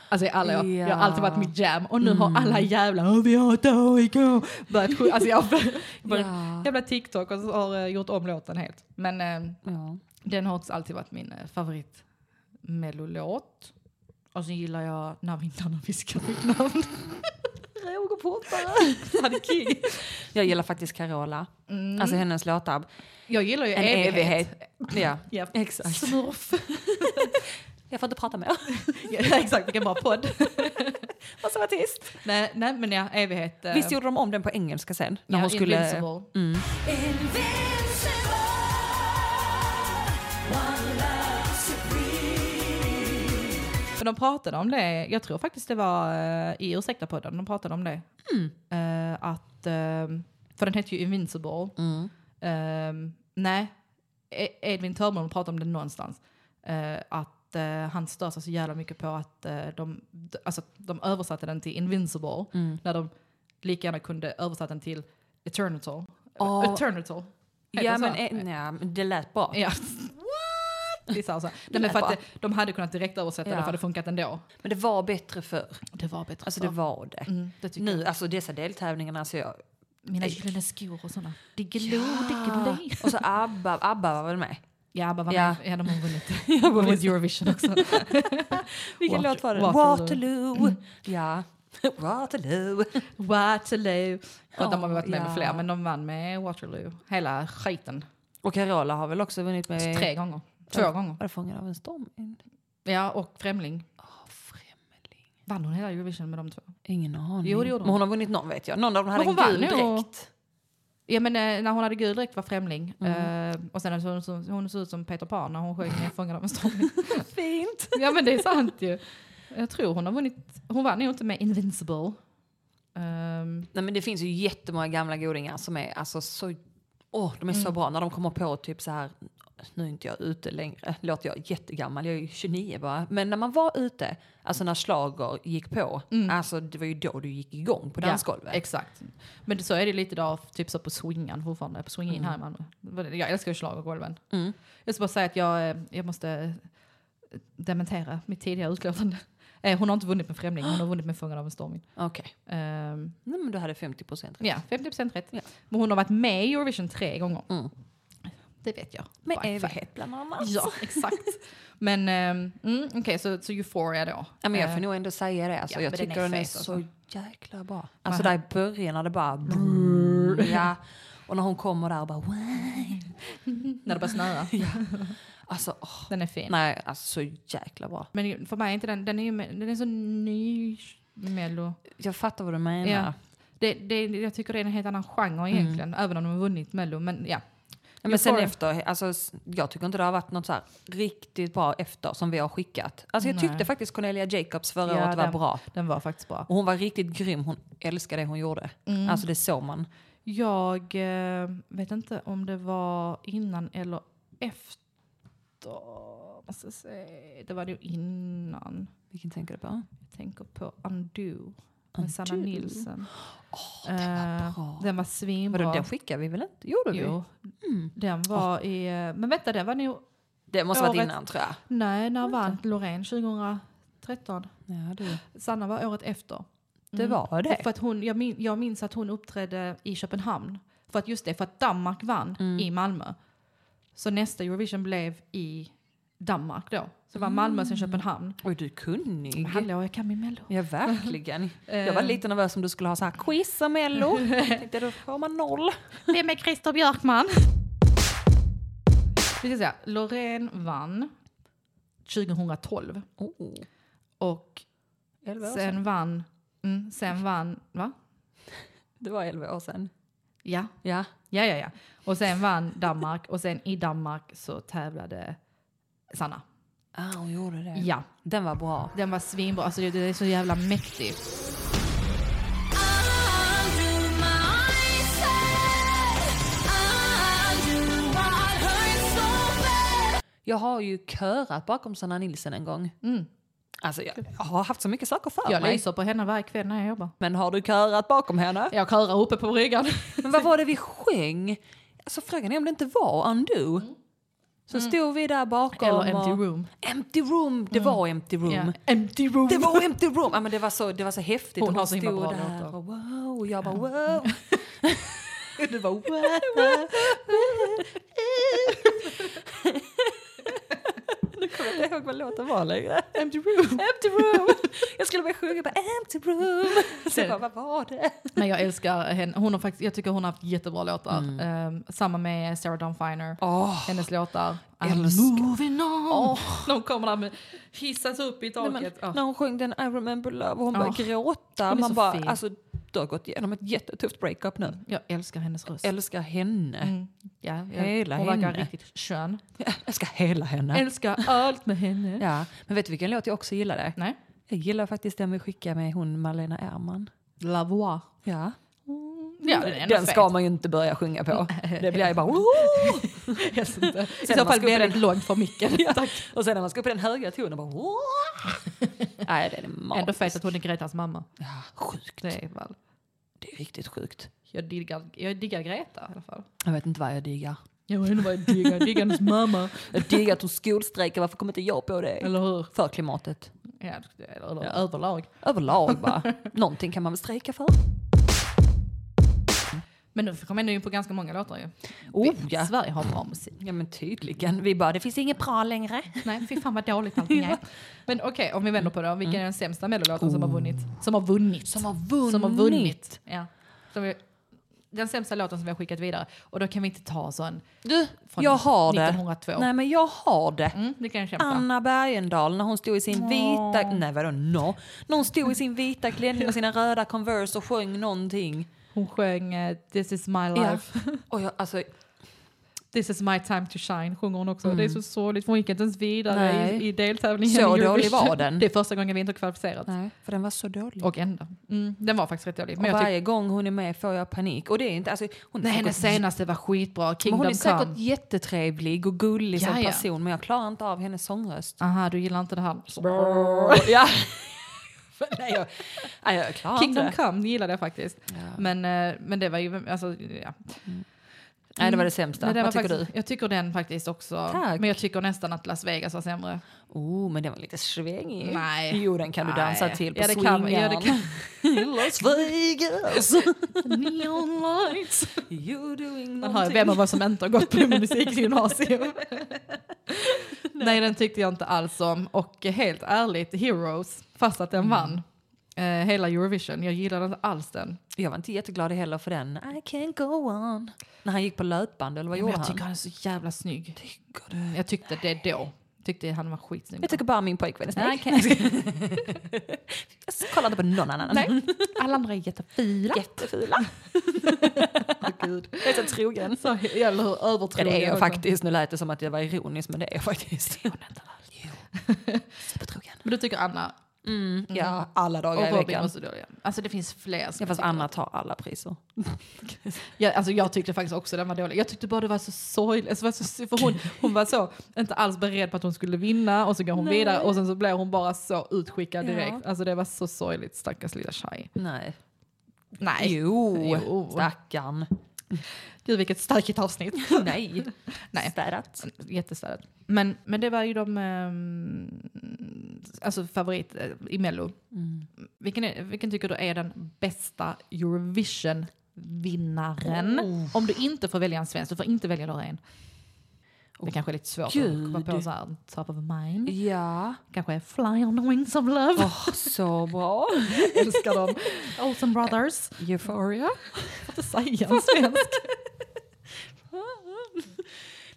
B: Alltså i alla år. Jag har alltid varit mitt jam. Och nu har alla jävla "Åh, vi hatar AIK börjat sjunga. Alltså jag har börjat
A: Ja.
B: jävla TikTok och så har eh, gjort om låten helt. Men eh,
A: Ja.
B: den har också alltid varit min eh, favorit mellolåt. Och så gillar jag När vindarna viskar mitt namn.
A: Roger Portare. Fan, king. Jag gillar faktiskt Carola. Alltså hennes låtar.
B: Jag gillar ju
A: En
B: evighet.
A: evighet. Ja,
B: Ja,
A: exakt.
B: Smurf.
A: Jag får inte prata mer.
B: ja, exakt, vilken bra podd.
A: Och så var tyst.
B: nej, nej, men ja, evighet. eh,
A: Visst gjorde de om den på engelska sen? När
B: ja,
A: hon skulle...
B: Invincible.
D: Invincible, one love supreme.
B: För de pratade om det, jag tror faktiskt det var eh, i Ursäkta podden, de pratade om det.
A: Mm.
B: Eh, att, ehm, för den heter ju Invincible.
A: Mm.
B: Ehm, nej, E- Edvin Törnblom pratade om det någonstans. Eh, att eh, han stör sig så jävla mycket på att eh, de, d- alltså, att de översatte den till Invincible.
A: Mm.
B: När de lika gärna kunde översätta den till Eternital.
A: Ja.
B: Eternital. Heter
A: Ja,
B: det så?
A: men, eh, nej, men det lät bra.
B: Ja. Det är så här, så här. Nej, men för att
A: Bra.
B: eh, de hade kunnat direktöversätta det
A: Ja.
B: för det funkat ändå.
A: Men det var bättre förr.
B: Det var bättre
A: Alltså det var det.
B: Mm, det tycker
A: Nu, alltså dessa deltävlingarna, alltså jag...
B: Mina gyllene skor och sådana. Diggiloo, ja. diggiloo.
A: Och så ABBA, ABBA var väl med?
B: Ja, bara var
A: Ja.
B: med. Ja, de har vunnit. De har vunnit Eurovision också.
A: Vilken
B: Water-
A: låt var det?
B: Waterloo.
A: Waterloo. Mm. Ja. Waterloo.
B: Waterloo. Och de har
A: Ja,
B: varit med med
A: ja.
B: fler, men de vann med Waterloo. Hela skiten.
A: Och Carola har väl också vunnit med...
B: Tre gånger. Två gånger.
A: Var det Fångad av en storm? En-
B: Ja, och Främling.
A: Åh, Främling.
B: Vann hon hela Eurovision med de två?
A: Ingen aning.
B: Jo, det gjorde hon.
A: Men hon har vunnit någon vet jag. Någon av dem hade en
B: Men hon
A: gul
B: vann ju.
A: dräkt.
B: Ja, men eh, när hon hade gul dräkt var Främling. Eh, och sen såg hon, som- hon såg ut som Peter Pan när hon sjöng eh, Fångad av en storm.
A: Fint.
B: ja, men det är sant ju. Jag tror hon har vunnit. Hon vann ju inte med Invincible. Ehm,
A: Nej, men det finns ju jättemånga gamla godingar som är alltså så... Åh, de är
B: Mm.
A: så bra. När de kommer på typ så här... Nu är inte jag ute längre. Låter jag jättegammal. Jag är ju 29 bara. Men när man var ute, alltså när slager gick på. Alltså det var ju då du gick igång på dansgolvet.
B: Mm. Ja, exakt. Men det- så är det lite idag, typ så på swingan fortfarande, på swingin här i Malmö. Jag älskar ju schlagergolven.
A: Mm.
B: Jag ska bara säga att jag, eh, jag måste eh, dementera mitt tidigare utlåtande. Eh, Hon har inte vunnit med Främling, hon har vunnit med Fångad av en stormvind.
A: Okej.
B: Ehm,
A: Nej, men du hade 50 procent rätt.
B: Ja, 50% rätt.
A: Ja.
B: Men hon har varit med i Eurovision tre gånger.
A: Mm.
B: Det vet jag.
A: Med
B: By fact.
A: evighet bland annat.
B: Ja, exakt. Men ehm, mm, okej, så, så Euphoria då.
A: Ja, men jag
B: Eh,
A: får nog ändå säga det. Alltså,
B: ja,
A: jag
B: men den
A: tycker den
B: är
A: är,
B: fet
A: så
B: alltså.
A: jäkla bra. Alltså
B: Man-
A: där i början när det bara... Ja. Och när hon kommer där och bara... Why?
B: När det börjar snöa.
A: Alltså, åh.
B: Den är fin.
A: Nej, alltså så jäkla bra.
B: Men för mig är inte den, den är ju, den är så ny mello.
A: Jag fattar vad du menar.
B: Ja. Det, det, jag tycker det är en helt annan genre
A: Mm.
B: egentligen, även om de har vunnit mello. Men ja,
A: Ja, men sen
B: får-
A: efter, alltså, s- jag tycker inte det har varit något så här riktigt bra efter som vi har skickat. Alltså jag
B: Nej.
A: tyckte faktiskt Cornelia Jacobs förra
B: Ja,
A: året var
B: den-
A: bra.
B: den var faktiskt bra.
A: Och hon var riktigt grym, hon älskade det hon gjorde.
B: Mm.
A: Alltså det såg man.
B: Jag eh, vet inte om det var innan eller efter. Måste se. Det var nog innan.
A: Vilken tänker du på?
B: Jag tänker på Undo med Sanna
A: Undo.
B: Nilsson.
A: den var bra.
B: Den var
A: Vadå,
B: svinbra.
A: den Mm. skickade vi väl inte? Gjorde vi?
B: jo. Den var i... eh, Men vänta, den var nog...
A: Det måste varit
B: Året-
A: innan tror jag.
B: Nej, när vann Loreen 2013?
A: Ja, du.
B: Sanna var året efter.
A: Det var Mm. det.
B: För att hon, jag, min, jag minns att hon uppträdde i Köpenhamn. För att just det, för att Danmark vann i Malmö. Så nästa Eurovision blev i Danmark då. Så det var Malmö sen Köpenhamn.
A: Oj, du är kunnig.
B: Men hallå, jag kan min mello.
A: Ja, verkligen. Jag var lite nervös om du skulle ha så här quiz om Mello. Jag tänkte, Då får man noll.
B: Vem är Christer Björkman? Vi ska säga, Loreen vann 2012.
A: Oh,
B: Och
A: 11 år sedan.
B: sen vann, mm, sen vann, va?
A: Det var 11 år sedan.
B: Ja,
A: Ja.
B: Ja, ja, ja. Och sen vann Danmark och sen i Danmark så tävlade Sanna.
A: Ah, hon gjorde det.
B: Ja,
A: Den var bra.
B: den var svinbra. Alltså det, det är så jävla mäktig.
D: I'll do what hurts so bad.
A: Jag har ju körat bakom Sanna Nilsson en gång.
B: Mm.
A: Alltså jag har haft så mycket saker för
B: Jag
A: mig.
B: lyser på henne varje kväll när jag jobbar.
A: Men har du körat bakom henne?
B: Jag körar uppe på bryggan.
A: Men vad var det vi sjöng? Alltså frågan är om det inte var Undo. Så stod vi där bakom.
B: Mm. Eller Empty
A: och-
B: Room. Mm.
A: Empty room, det var empty room.
B: Ja. Empty room.
A: Det var empty room! Ja, men det, var så, det var så häftigt.
B: Hon
A: Och
B: har så himla
A: stod
B: bra
A: där
B: låtar.
A: och wow, och jag bara wow. du bara wow. nu kommer jag inte ihåg vad låten var längre.
B: Empty room.
A: Empty room! Jag skulle börja sjunga bara empty room. Så jag bara, vad var det?
B: Men jag älskar henne. Hon har faktiskt, jag tycker hon har haft jättebra låtar. Ehm, samma med Sarah Dawn Finer.
A: Åh,
B: Hennes låtar.
A: älskar.
B: moving on.
A: Åh.
B: De kommer där med hissas upp i
A: Nej,
B: taket.
A: men,
B: Ja.
A: När hon sjöng den I remember love och hon
B: Ja.
A: började gråta.
B: Hon är
A: Man
B: så
A: bara,
B: fin.
A: alltså du har gått igenom ett jättetufft breakup nu.
B: Jag älskar hennes röst.
A: Älskar henne.
B: Mm. Ja, jag,
A: Hela
B: hon verkar
A: henne.
B: riktigt skön.
A: Jag älskar hela henne.
B: Älskar allt med henne.
A: Ja, men vet du vilken låt jag också gillade?
B: Nej.
A: Jag gillar faktiskt den vi skickade med hon Malena Ärman.
B: La voix.
A: Ja.
B: Ja, den är ändå
A: den ska man ju inte börja sjunga på. Det blir ju bara... "Woo!"
B: fet. I
A: Sen
B: så
A: man
B: fall
A: ska
B: blir
A: upp i
B: den långt för mycket. Tack.
A: Och sen när man ska upp i den höga tonen bara... "Woo!" Nej, det är magiskt.
B: Ändå fet att hon är Gretas mamma.
A: Ja, sjukt.
B: Det är väl.
A: Det är riktigt sjukt.
B: Jag diggar, jag diggar Greta i alla fall.
A: Jag vet inte vad jag diggar.
B: Jag vet inte vad jag diggar. Jag diggar hennes mamma.
A: Jag diggar att hon skolstrejkar, varför kommer inte jag på det?
B: Eller hur?
A: För klimatet.
B: Ja, eller överlag.
A: Överlag bara. Någonting kan man väl strejka för?
B: Men nu kommer jag in på ganska många låtar ju.
A: Oh
B: Vi-
A: ja.
B: Sverige har bra musik.
A: Ja men tydligen. Vi bara, det finns inget bra längre.
B: Nej, fy fan vad dåligt allting är. Men okej, om vi vänder på det. Vilken är den sämsta mellolåten som har vunnit? Oh. Som har vunnit.
A: Som har vunnit.
B: Som har vunnit. Ja. Som vi, den sämsta låten som vi har skickat vidare. Och då kan vi inte ta sån
A: Du,
B: från
A: jag har det.
B: 1902.
A: Nej men jag har det.
B: Mm, det kan jag kämpa.
A: Anna Bergendahl när hon stod i sin vita... Nej vadå no? När hon stod i sin vita klänning och sina röda Converse och sjöng någonting.
B: Hon sjöng eh, This is my
A: Ja.
B: life,
A: Och jag, alltså,
B: this is my time to shine. Sjunger hon också. Det är så sorgligt för hon gick inte ens vidare
A: Mm. Nej.
B: i, i deltävlingen.
A: Så
B: i
A: dålig
B: Eurovision.
A: var den.
B: Det är första gången vi inte har kvalificerat.
A: nej, för den var så dålig. Och,
B: Och ändå. Mm, den var faktiskt rätt dålig. Men jag tyck-
A: varje gång hon är med får jag panik. Och det är inte... Alltså, hon är
B: Nej, hennes
A: säkert,
B: senaste var skitbra.
A: men
B: Kingdom
A: hon är säkert
B: come.
A: jättetrevlig och gullig som
B: Ja, ja.
A: person men jag klarar inte av hennes sångröst.
B: Aha, du gillar inte det här.
A: ja. nej, jag, nej, jag klarar
B: Kingdom
A: inte.
B: come gillade jag faktiskt. Men, eh, men det var ju, alltså, ja.
A: Nej, det var det sämsta.
B: Men den
A: Vad
B: var
A: tycker
B: faktiskt, Jag tycker den faktiskt också.
A: Tack.
B: Men jag tycker nästan att Las Vegas var sämre.
A: du? Oh, men den var lite svängig.
B: Nej.
A: Jo, den kan du
B: Nej.
A: dansa till på
B: Ja, det kan- ja, det
A: swingaren. Las Vegas.
B: Neon lights.
A: You doing
B: Man hör ju vem av oss som inte har gått på musikgymnasium. Nej, den tyckte jag inte alls om. Och eh, helt ärligt, Heroes, fast att den vann eh, hela Eurovision, jag gillade inte alls den.
A: Jag var inte jätteglad heller för den. I can't go on. När han gick på löpband eller vad
B: Men
A: gjorde
B: jag
A: han?
B: tycker han är så jävla snygg.
A: Tycker du?
B: Jag tyckte det då. Tyckte han var skitsnygg.
A: Jag tycker bara min pojkvän är snygg. Jag kollar inte på någon annan.
B: Nej, alla andra är jättefila.
A: Jättefula. Jag är så trogen.
B: Så, eller hur,
A: Ja,
B: övertrogen.
A: det är jag
B: också.
A: faktiskt. Nu lät det som att jag var ironisk men det är jag faktiskt. Jo. Supertrogen.
B: Men du tycker Anna
A: Mm.
B: Mm.
A: Ja, alla dagar i
B: och Robin
A: veckan.
B: var så dåliga. Alltså det finns fler. Som
A: Ja,
B: jag
A: fast
B: tycker-
A: Anna tar alla priser.
B: Ja, alltså jag tyckte faktiskt också den var dålig. Jag tyckte bara det var så sorgligt. Alltså, det var så- för hon, hon var så, inte alls beredd på att hon skulle vinna och så går hon vidare och sen så blev hon bara så utskickad
A: Ja.
B: direkt. Alltså det var så sorgligt, stackars lilla tjej.
A: Nej.
B: Nej.
A: Jo,
B: Jo.
A: stackarn.
B: Gud vilket starkt avsnitt.
A: Nej.
B: Nej.
A: Städat.
B: Jättestarkt. Men, men det var ju de, ehm, alltså favorit eh, i Mello. Vilken, är, vilken tycker du är den bästa Eurovision-vinnaren? Om du inte får välja en svensk, du får inte välja några en. Det kanske är lite svårt
A: Gud.
B: att komma på så här, top of mind.
A: Ja.
B: Kanske är Fly on the wings of love.
A: Åh, så bra.
B: Älskar dem. Olsen Brothers.
A: Euphoria.
B: Får inte säga en svensk.
A: Nej,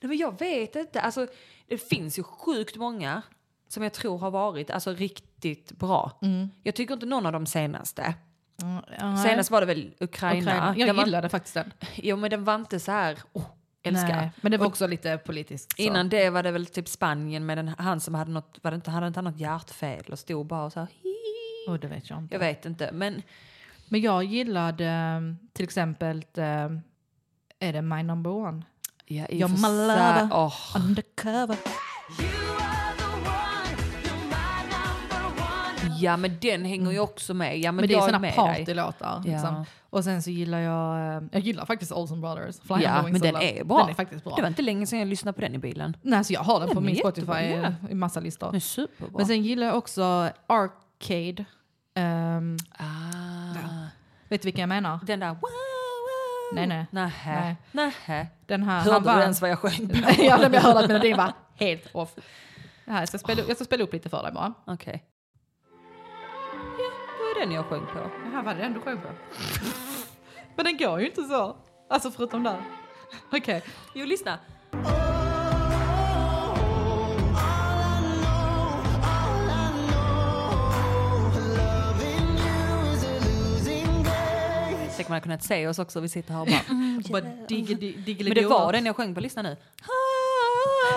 A: men jag vet inte. Alltså, det finns ju sjukt många som jag tror har varit alltså, riktigt bra. Jag tycker inte någon av de senaste.
B: Mm,
A: Senast var det väl Ukraina.
B: Ukraina.
A: Den
B: Jag
A: var-
B: gillade faktiskt den.
A: Jo, men den var inte så här... Oh, älskar.
B: Nej, men det var också lite politiskt. så.
A: Innan det var det väl typ Spanien med den, han som hade något, var det inte, hade inte han något hjärtfel och stod bara och så här, "Hi."
B: Oh, det vet jag inte.
A: Jag vet inte, men ehm,
B: Men jag gillade eh, till exempel eh, är det My Number One?
A: Ja, i och
B: Jag
A: för sig-
B: malade.
A: åh.
B: Undercover.
A: Ja, men den hänger ju också med. Ja, men,
B: Mm. Men det är
A: jag
B: såna
A: med dig.
B: partylåtar. Liksom.
A: Ja.
B: Och sen så gillar jag, eh, jag gillar faktiskt Olsen Brothers. Fly
A: ehm, Ja,
B: Home Going
A: men den
B: Solo.
A: är bra.
B: Den är faktiskt bra.
A: Det var inte länge sedan jag lyssnade på den i bilen.
B: Nej, så jag har den på
A: Den är
B: min Spotify
A: jättebra, ja.
B: i massa listor.
A: Den är superbra.
B: Men sen gillar jag också Arcade. Ehm,
A: ah,
B: vet du vilka jag menar?
A: den där... Wow, wow.
B: Nej, nej.
A: Nähä. Nähä.
B: Den här,
A: Hörde
B: vann-
A: du ens vad jag sjöng på?
B: ja, men jag hörde att melodin var helt off. Det här, jag, ska spela, jag ska spela upp lite för dig bara.
A: Okej. Ja, det var den jag sjöng på.
B: Det här var det den du sjöng på. men den går ju inte så. Alltså förutom där. Okej.
A: Jo, lyssna. Tänk om man hade kunnat se oss också, vi sitter här och bara...
B: Bara diggeli- diggeli-
A: Men det var den jag sjöng på, lyssna nu.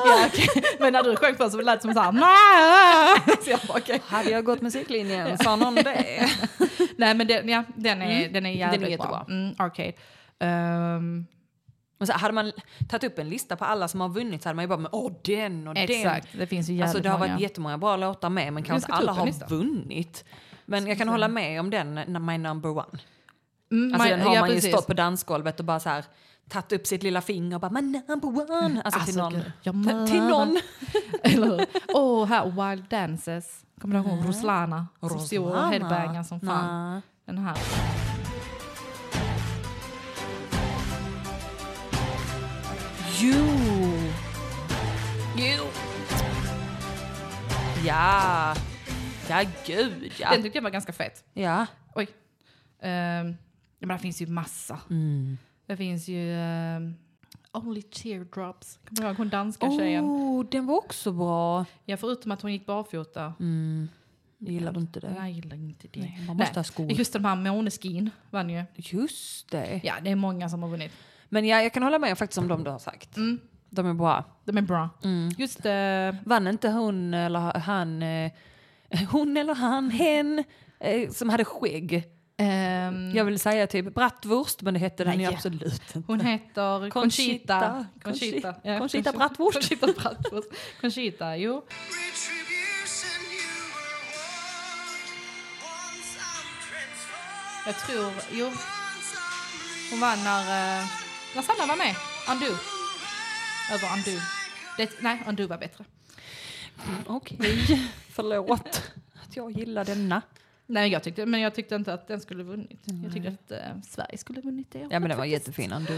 B: Ja, okej. Men när du sjöng på så lät det som såhär "Nä." så jag bara, okej.
A: Hade jag gått musiklinjen, sa någon det?
B: Nej men den, ja, den, är, den är jävligt
A: Den är
B: bra.
A: jättebra.
B: Mm, arcade. Ehm,
A: Men så hade man tagit upp en lista på alla som har vunnit så hade man ju bara, men åh den och den.
B: exakt, det finns ju jävligt
A: Alltså det har
B: många.
A: varit jättemånga bra låtar med men kanske
B: ska
A: inte alla
B: ta upp en
A: har
B: lista.
A: vunnit. Men jag kan hålla med om den, na- My number one.
B: Mm,
A: Alltså
B: man-
A: den har
B: ja,
A: man ju
B: precis.
A: stått på dansgolvet och bara så här tagit upp sitt lilla finger och bara my number one. Alltså, till
B: Alltså,
A: någon.
B: gud, jag
A: T- till
B: mördar.
A: någon.
B: Eller hur? Åh, här Wild Dances. Kommer du ihåg hon? Roslana? Som stod och
A: Rosanna.
B: headbangade som fan.
A: Nej.
B: Den här.
A: Jo. Jo. Ja. Ja gud ja.
B: Den tyckte jag var ganska fet.
A: Ja.
B: Oj. Ehm, ja, men det finns ju massa.
A: Mm.
B: Det finns ju ehm, Only Teardrops. Kommer du ihåg hon danska tjejen?
A: Oh, den var också bra.
B: Ja, förutom att hon gick barfota.
A: Gillar du inte det?
B: Jag gillar inte det.
A: Mm. Nej, man måste ha skor.
B: Just de här Måneskin vann ju.
A: Just det.
B: Ja, det är många som har vunnit.
A: Men ja, jag kan hålla med faktiskt om de du har sagt.
B: Mm.
A: De är bra.
B: De är bra.
A: Mm.
B: Just eh,
A: Vann inte hon eller han, eh, hon eller han, hen, eh, som hade skägg?
B: ehm,
A: Jag vill säga typ bratwurst, men det hette den
B: Nej.
A: ju absolut inte.
B: Hon heter Conchita.
A: Conchita.
B: Conchita,
A: Conchi-
B: ja,
A: Conchita Bratwurst.
B: Conchita Bratwurst. Conchita, jo.
C: Retribution, you were warned. Once I'm transformed.
B: Jag tror, jo,
C: Once I'm
B: hon vann när, eh, när Sanna var med. Undo. Över Undo. Det, nej, Undo var bättre.
A: Okej, förlåt att jag gillar denna.
B: Nej, jag tyckte, men jag tyckte inte att den skulle vunnit. Jag tyckte att eh, Sverige skulle vunnit det.
A: Ja men den var jättefin ändå.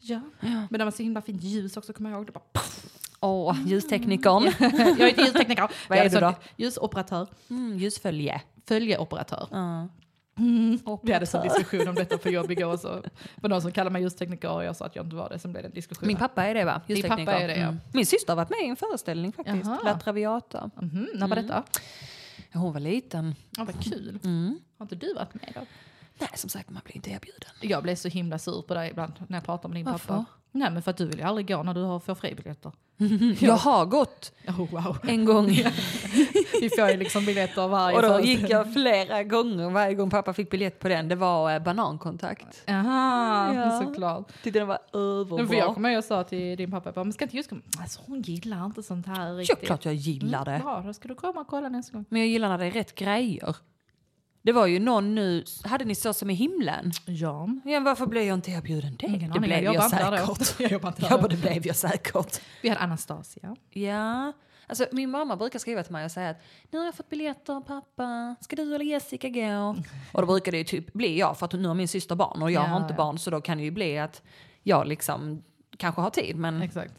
B: Ja. Men det var så himla fint ljus också, kommer jag ihåg. Det bara, pff.
A: Åh, ljusteknikern.
B: jag är inte ljustekniker.
A: Vad är
B: Jag
A: du då?
B: sånt- Ljusoperatör.
A: Mm, ljusfölje.
B: Följeoperatör.
A: Ja.
B: Vi hade en diskussion om detta på jobb igår. Så var någon som kallade mig ljustekniker och jag sa att jag inte var det. Sen blev det en diskussion.
A: Min pappa är det va?
B: Din pappa
A: Ljustekniker.
B: är det, ja.
A: Min syster har varit med i en föreställning faktiskt.
B: Jaha.
A: La Traviata.
B: Mhm, när var
A: Mm.
B: detta?
A: Hon var liten.
B: Ja, vad kul.
A: Mm.
B: Har inte du varit med då?
A: Nej som sagt man blir inte erbjuden.
B: Jag blev så himla sur på dig ibland när jag pratar med din pappa.
A: Varför?
B: Nej men för att du vill ju aldrig gå när du har- får fribiljetter.
A: Jag har gått
B: Oh, wow.
A: en gång.
B: Vi får ju liksom biljetter varje
A: Och då
B: föreställning.
A: gick jag flera gånger varje gång pappa fick biljett på den. Det var eh, banankontakt.
B: Aha,
A: Ja.
B: såklart.
A: Tyckte den var
B: Men för jag
A: överbra.
B: kommer ihåg och sa till din pappa, jag bara, men ska inte just komma? Alltså hon gillar inte sånt här
A: Ja,
B: riktigt.
A: klart jag gillar det.
B: Bra, då ska du komma och kolla nästa gång.
A: Men jag gillar när det är rätt grejer. Det var ju någon nu, hade ni så som i himlen?
B: Ja.
A: Ja, varför blev jag inte erbjuden det?
B: Ingen
A: det
B: aning,
A: blev
B: jag
A: jag,
B: jobbar inte där då.
A: säkert.
B: Jag jobbar inte där
A: ja,
B: då.
A: men det blev jag Mm. säkert.
B: Vi hade Anastasia.
A: Ja, alltså min mamma brukar skriva till mig och säga att nu har jag fått biljetter pappa, ska du eller Jessica gå? Och då brukar det ju typ bli jag för att nu har min syster barn och jag
B: Ja,
A: har inte
B: ja.
A: barn så då kan det ju bli att jag liksom kanske har tid men nej.
B: Exakt.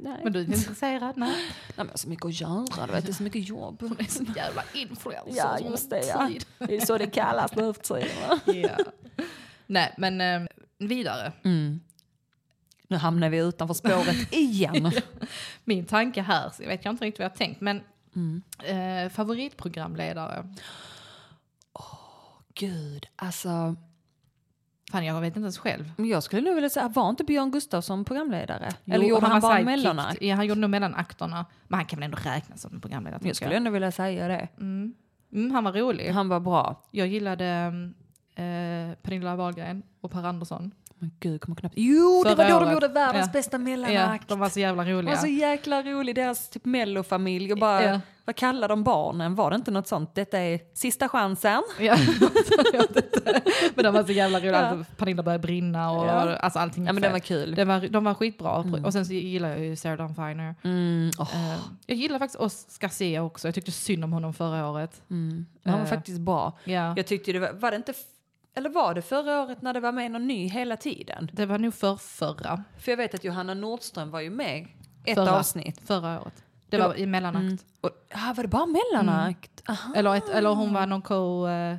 A: nej
B: Men du är inte intresserad? Nej.
A: men jag har så mycket att göra, du vet, det är så mycket jobb.
B: Hon är så jävla influencer.
A: Ja
B: som har
A: just det ja,
B: tid.
A: det är så det kallas nu för tiden. va?
B: Ja. Nej, men eh, vidare.
A: Nu hamnar vi utanför spåret igen.
B: Min tanke här, så jag vet jag inte riktigt vad jag har tänkt, men
A: Mm.
B: eh, favoritprogramledare.
A: Gud, alltså.
B: Fan, jag vet inte ens själv.
A: men Jag skulle nog vilja säga, var inte Björn Gustafsson programledare?
B: Jo,
A: Eller gjorde han, bara en
B: sidekick.
A: mellonark?
B: Ja, han gjorde nog mellanakterna. Men han kan väl ändå räknas som en programledare?
A: Jag
B: tänker
A: skulle ändå vilja säga det.
B: jag. Mm, han var rolig.
A: Han var bra.
B: Jag gillade eh, Pernilla Wahlgren och Per Andersson.
A: Men gud, jag kommer knappt... Jo, det
B: Förra
A: var då de
B: året.
A: gjorde världens
B: Ja.
A: bästa
B: Ja,
A: mellanakt.
B: de var så jävla
A: Det
B: roliga.
A: var så jäkla rolig, deras typ mellofamilj och bara,
B: Ja.
A: vad kallar de barnen? Var det inte något sånt? Detta är sista chansen.
B: Ja, jag vet inte. men de var så jävla roliga.
A: Ja.
B: Alltså, Pernilla började brinna och
A: Ja.
B: alltså, allting
A: Ja men den var
B: fett.
A: kul.
B: Det var, de var skitbra. Och sen så gillar jag ju Sarah Dawn Finer.
A: Mm, åh,
B: Eh, jag gillar faktiskt oss Garcia också. Jag tyckte synd om honom förra året.
A: mm. Han var
B: Eh.
A: faktiskt bra.
B: Ja.
A: Jag tyckte det var, var det inte, f- eller var det förra året när det var med någon ny hela tiden?
B: Det var nog för förra,
A: För jag vet att Johanna Nordström var ju med ett
B: Förra.
A: avsnitt.
B: förra året. Det,
A: Det
B: var,
A: var-
B: i mellanakt.
A: Och, ah, var det bara mellanakt? Aha.
B: Eller, ett, eller hon var någon co, eh,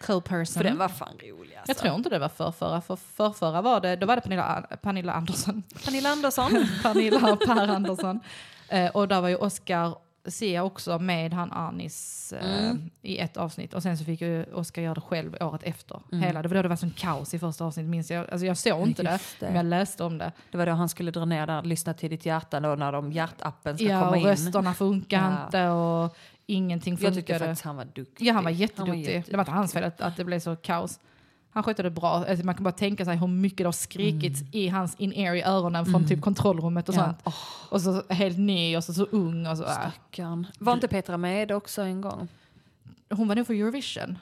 B: co-person.
A: Ah. För den var fan rolig alltså.
B: Mm. jag tror inte det var för förra. För, för förra var det, då var det Pernilla, Pernilla Andersson.
A: Pernilla Andersson.
B: Pernilla och Per Andersson. Eh, och där var ju Oscar Sia också med han Anis eh,
A: Mm.
B: i ett avsnitt. Och sen så fick ju Oscar göra det själv året efter.
A: Mm.
B: Hela, det var då det var sån kaos i första avsnittet minns jag. Alltså jag såg inte det,
A: just det.
B: men jag läste om det.
A: Det var då han skulle dra ner där, lyssna till ditt hjärta då, när de hjärtappen ska
B: Ja,
A: komma
B: och
A: in.
B: rösterna funkar
A: Ja.
B: inte och ingenting
A: Jag tycker
B: funkade.
A: faktiskt han var duktig.
B: Ja, han var jätteduktig.
A: jätte-
B: det var inte hans fel att, att det blev så kaos. Han skötte det bra. Alltså, man kan bara tänka sig hur mycket det har skrikits i hans in-ear i öronen från typ kontrollrummet och
A: Mm. Ja.
B: sånt. Och så helt ny och så, så ung. Och så, äh.
A: Stackarn. Var inte Petra med också en gång?
B: Hon var nog för Eurovision.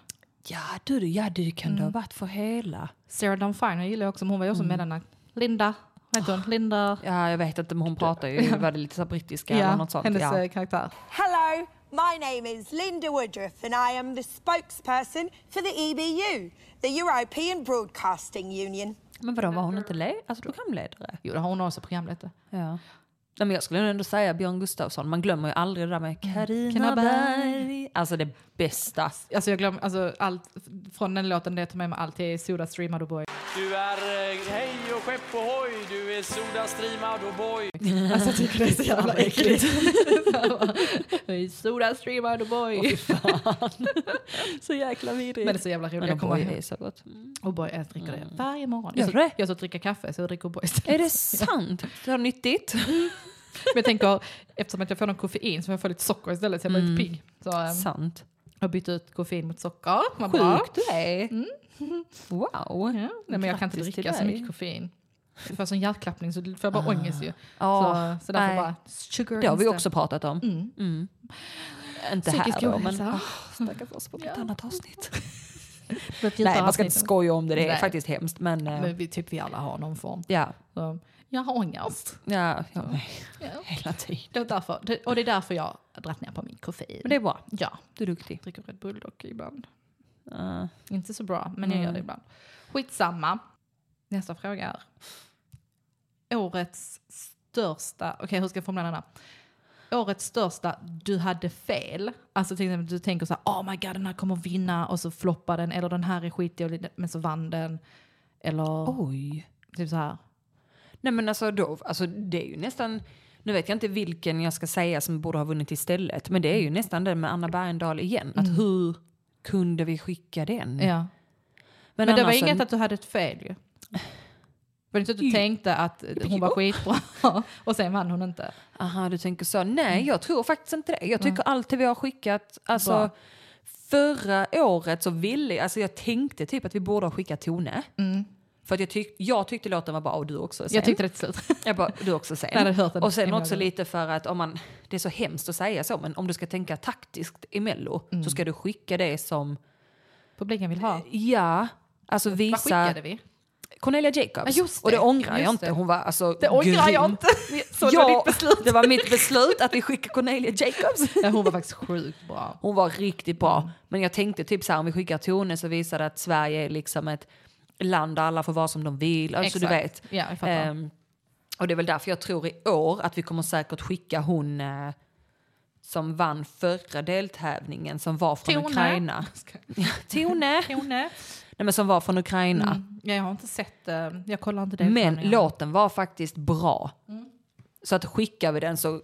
A: Ja du, du, ja, du kan det ha varit för hela.
B: Sarah Dawn Finer gillar jag också, men hon var ju
A: Mm.
B: också mellanakt. Linda, vad heter hon? Linda.
A: Ja, jag vet inte, men hon pratar ju, var det lite så här brittiska eller något sånt?
B: hennes
A: ja.
B: eh, karaktär.
E: Hello, my name is Linda Woodruff, and I am the spokesperson for the EBU, the European Broadcasting Union.
A: Men vadå, var hon inte le- alltså, programledare?
B: Jo, det har hon också programledare.
A: Ja. Nej, men jag skulle nog ändå säga Björn Gustafsson, man glömmer ju aldrig det där med Mm. Carina
B: Carina
A: Berg. Alltså det bästa.
B: Alltså jag glömmer, alltså allt från den låten, det jag tar med mig allt till Soda Stream Out Boy.
F: Du är eh, hej och skepp ohoj, du är Soda Stream Adoboy.
B: Alltså jag tycker det är så jävla äckligt. Hey, Soda Stream Out Boy.
A: Så jäkla vidrigt.
B: Men det är så jävla roligt.
A: Men
B: Jag kommer
A: O'boy
B: ihåg.
A: är så gott. Mm.
B: O'boy, jag dricker det varje morgon.
A: Gör
B: Jag,
A: du det?
B: så, jag så dricker kaffe så jag dricker O'boy istället.
A: Är det sant? Det var nyttigt.
B: Men jag tänker, eftersom att jag får någon koffein så får jag få lite socker istället så jag blir lite
A: Mm.
B: pigg. Så, ehm,
A: Sant.
B: Jag har bytt ut koffein mot socker. Vad bra.
A: Sjukt du är. Wow.
B: Ja. Nej, men jag kan inte
A: Grattis till
B: dricka så
A: dig.
B: mycket koffein. Jag får sån hjärtklappning så får jag bara ångest ju.
A: Ja,
B: så, så därför
A: Ah, nej.
B: bara sugar
A: Det har vi
B: instead.
A: också pratat om. Mm. Inte här
B: Psykisk
A: då, men
B: ohälsa.
A: oh, stackars oss på ett annat avsnitt.
B: Det är ett
A: Nej,
B: djupare
A: man ska inte
B: avsnitt.
A: skoja om det, det är
B: Nej.
A: faktiskt hemskt. Men, eh,
B: Men vi, typ vi alla har någon form.
A: ja,
B: Så, jag har ångest.
A: ja, ja, nej,
B: Ja.
A: hela tiden.
B: Det är därför, det, och det är därför jag har dragit ner på min koffein.
A: Men det är bra,
B: ja,
A: du är duktig.
B: dricker Red Bull dock ibland.
A: Eh,
B: Inte så bra, men jag gör det ibland. Skitsamma. Nästa fråga är. Årets största, okej hur ska jag formulera den här? Årets största, du hade fel. Alltså till exempel du tänker så här, oh my god den här kommer vinna och så floppar den. Eller den här är skitig och lite- men så vann den. Eller
A: Oj.
B: typ så här.
A: Nej men alltså, då, alltså det är ju nästan, nu vet jag inte vilken jag ska säga som borde ha vunnit istället, men det är ju
B: Mm.
A: nästan den med Anna Bergendahl igen. Att hur kunde vi skicka den?
B: Ja. Men, det var
A: annars
B: inget
A: en-
B: att du hade ett fel ju. Var det inte att du
A: Jo.
B: tänkte att hon var skitbra och sen vann hon inte?
A: Aha, du tänker så.
B: Mm.
A: Nej, jag tror faktiskt inte det. Jag tycker alltid vi har skickat, alltså
B: Bra.
A: förra året så ville jag, alltså jag tänkte typ att vi borde ha skickat Tone. För att jag, tyck, jag tyckte låten var bra och du också är sen.
B: Mm. Jag tyckte det till slut.
A: jag bara, du också
B: Jag hade
A: sen.
B: hört den
A: Och sen
B: himla
A: också
B: bra.
A: lite för att om man, det är så hemskt att säga så, men om du ska tänka taktiskt i Mello
B: Mm.
A: så ska du skicka det som,
B: Publiken vill ha.
A: ja, alltså
B: Vad
A: visa
B: skickade vi?
A: Cornelia Jacobs.
B: Ja, just det.
A: Och det ångrar
B: Just
A: jag inte,
B: det.
A: hon var alltså
B: Det ångrar jag
A: grym.
B: inte. Så
A: Ja,
B: dåligt beslut.
A: det var mitt beslut att vi skickar Cornelia Jacobs.
B: Ja, hon var faktiskt sjukt bra.
A: Hon var riktigt bra. Men jag tänkte typ så här om vi skickar Tone så visar det att Sverige är liksom ett land där alla får vara som de vill. Alltså du vet.
B: Exakt. Ja, jag fattar.
A: Ehm, och det är väl därför jag tror i år att vi kommer säkert skicka hon eh, som vann förra deltävlingen som var från
B: Tone.
A: Ukraina. Tone!
B: Tone.
A: Nej men som var från Ukraina.
B: Mm. Ja, jag har inte sett eh, Jag kollar inte det.
A: Men låten var faktiskt bra.
B: Mm.
A: Så att skickar vi den så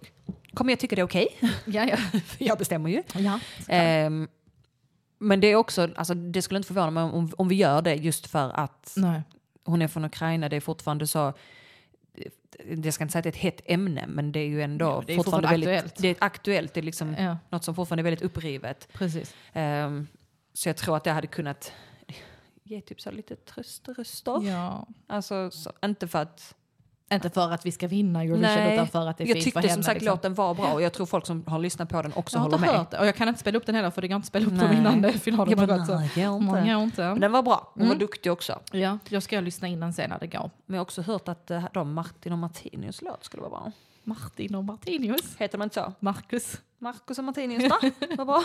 A: kommer jag tycka det är okej.
B: Ja, Eh, ja.
A: jag bestämmer ju.
B: ja.
A: Ehm, men det är också, alltså, det skulle inte förvåna mig om, om vi gör det just för att
B: Nej.
A: hon är från Ukraina. Det är fortfarande så, jag ska inte säga att det är ett hett ämne, men det är ju ändå
B: det är fortfarande
A: väldigt,
B: aktuellt.
A: det är aktuellt. Det är liksom
B: Ja.
A: något som fortfarande är väldigt upprivet.
B: Precis.
A: Ehm, så jag tror att det hade kunnat ge typ så lite tröströster.
B: Ja.
A: Alltså, så, inte för att...
B: Inte för att vi ska vinna Eurovision utan för att det är
A: jag
B: fint
A: tyckte
B: för henne.
A: som sagt
B: liksom.
A: låten var bra och jag tror folk som har lyssnat på den också
B: jag har
A: håller
B: inte
A: med.
B: hört det. Och jag kan inte spela upp den heller för det går inte att spela upp den
A: Nej.
B: innan det- finalen
A: Jag
B: har
A: bara,
B: gått. så.
A: nej, det gör inte.
B: Man gör
A: Men
B: inte. Mm.
A: den var bra, hon var duktig också.
B: Ja, jag ska lyssna innan sen när det går.
A: Men jag har också hört att eh, de Martin och Martinius låt skulle vara bra.
B: Martin och Martinius.
A: Heter de inte så?
B: Marcus.
A: Marcus och Martinius va? Vad bra.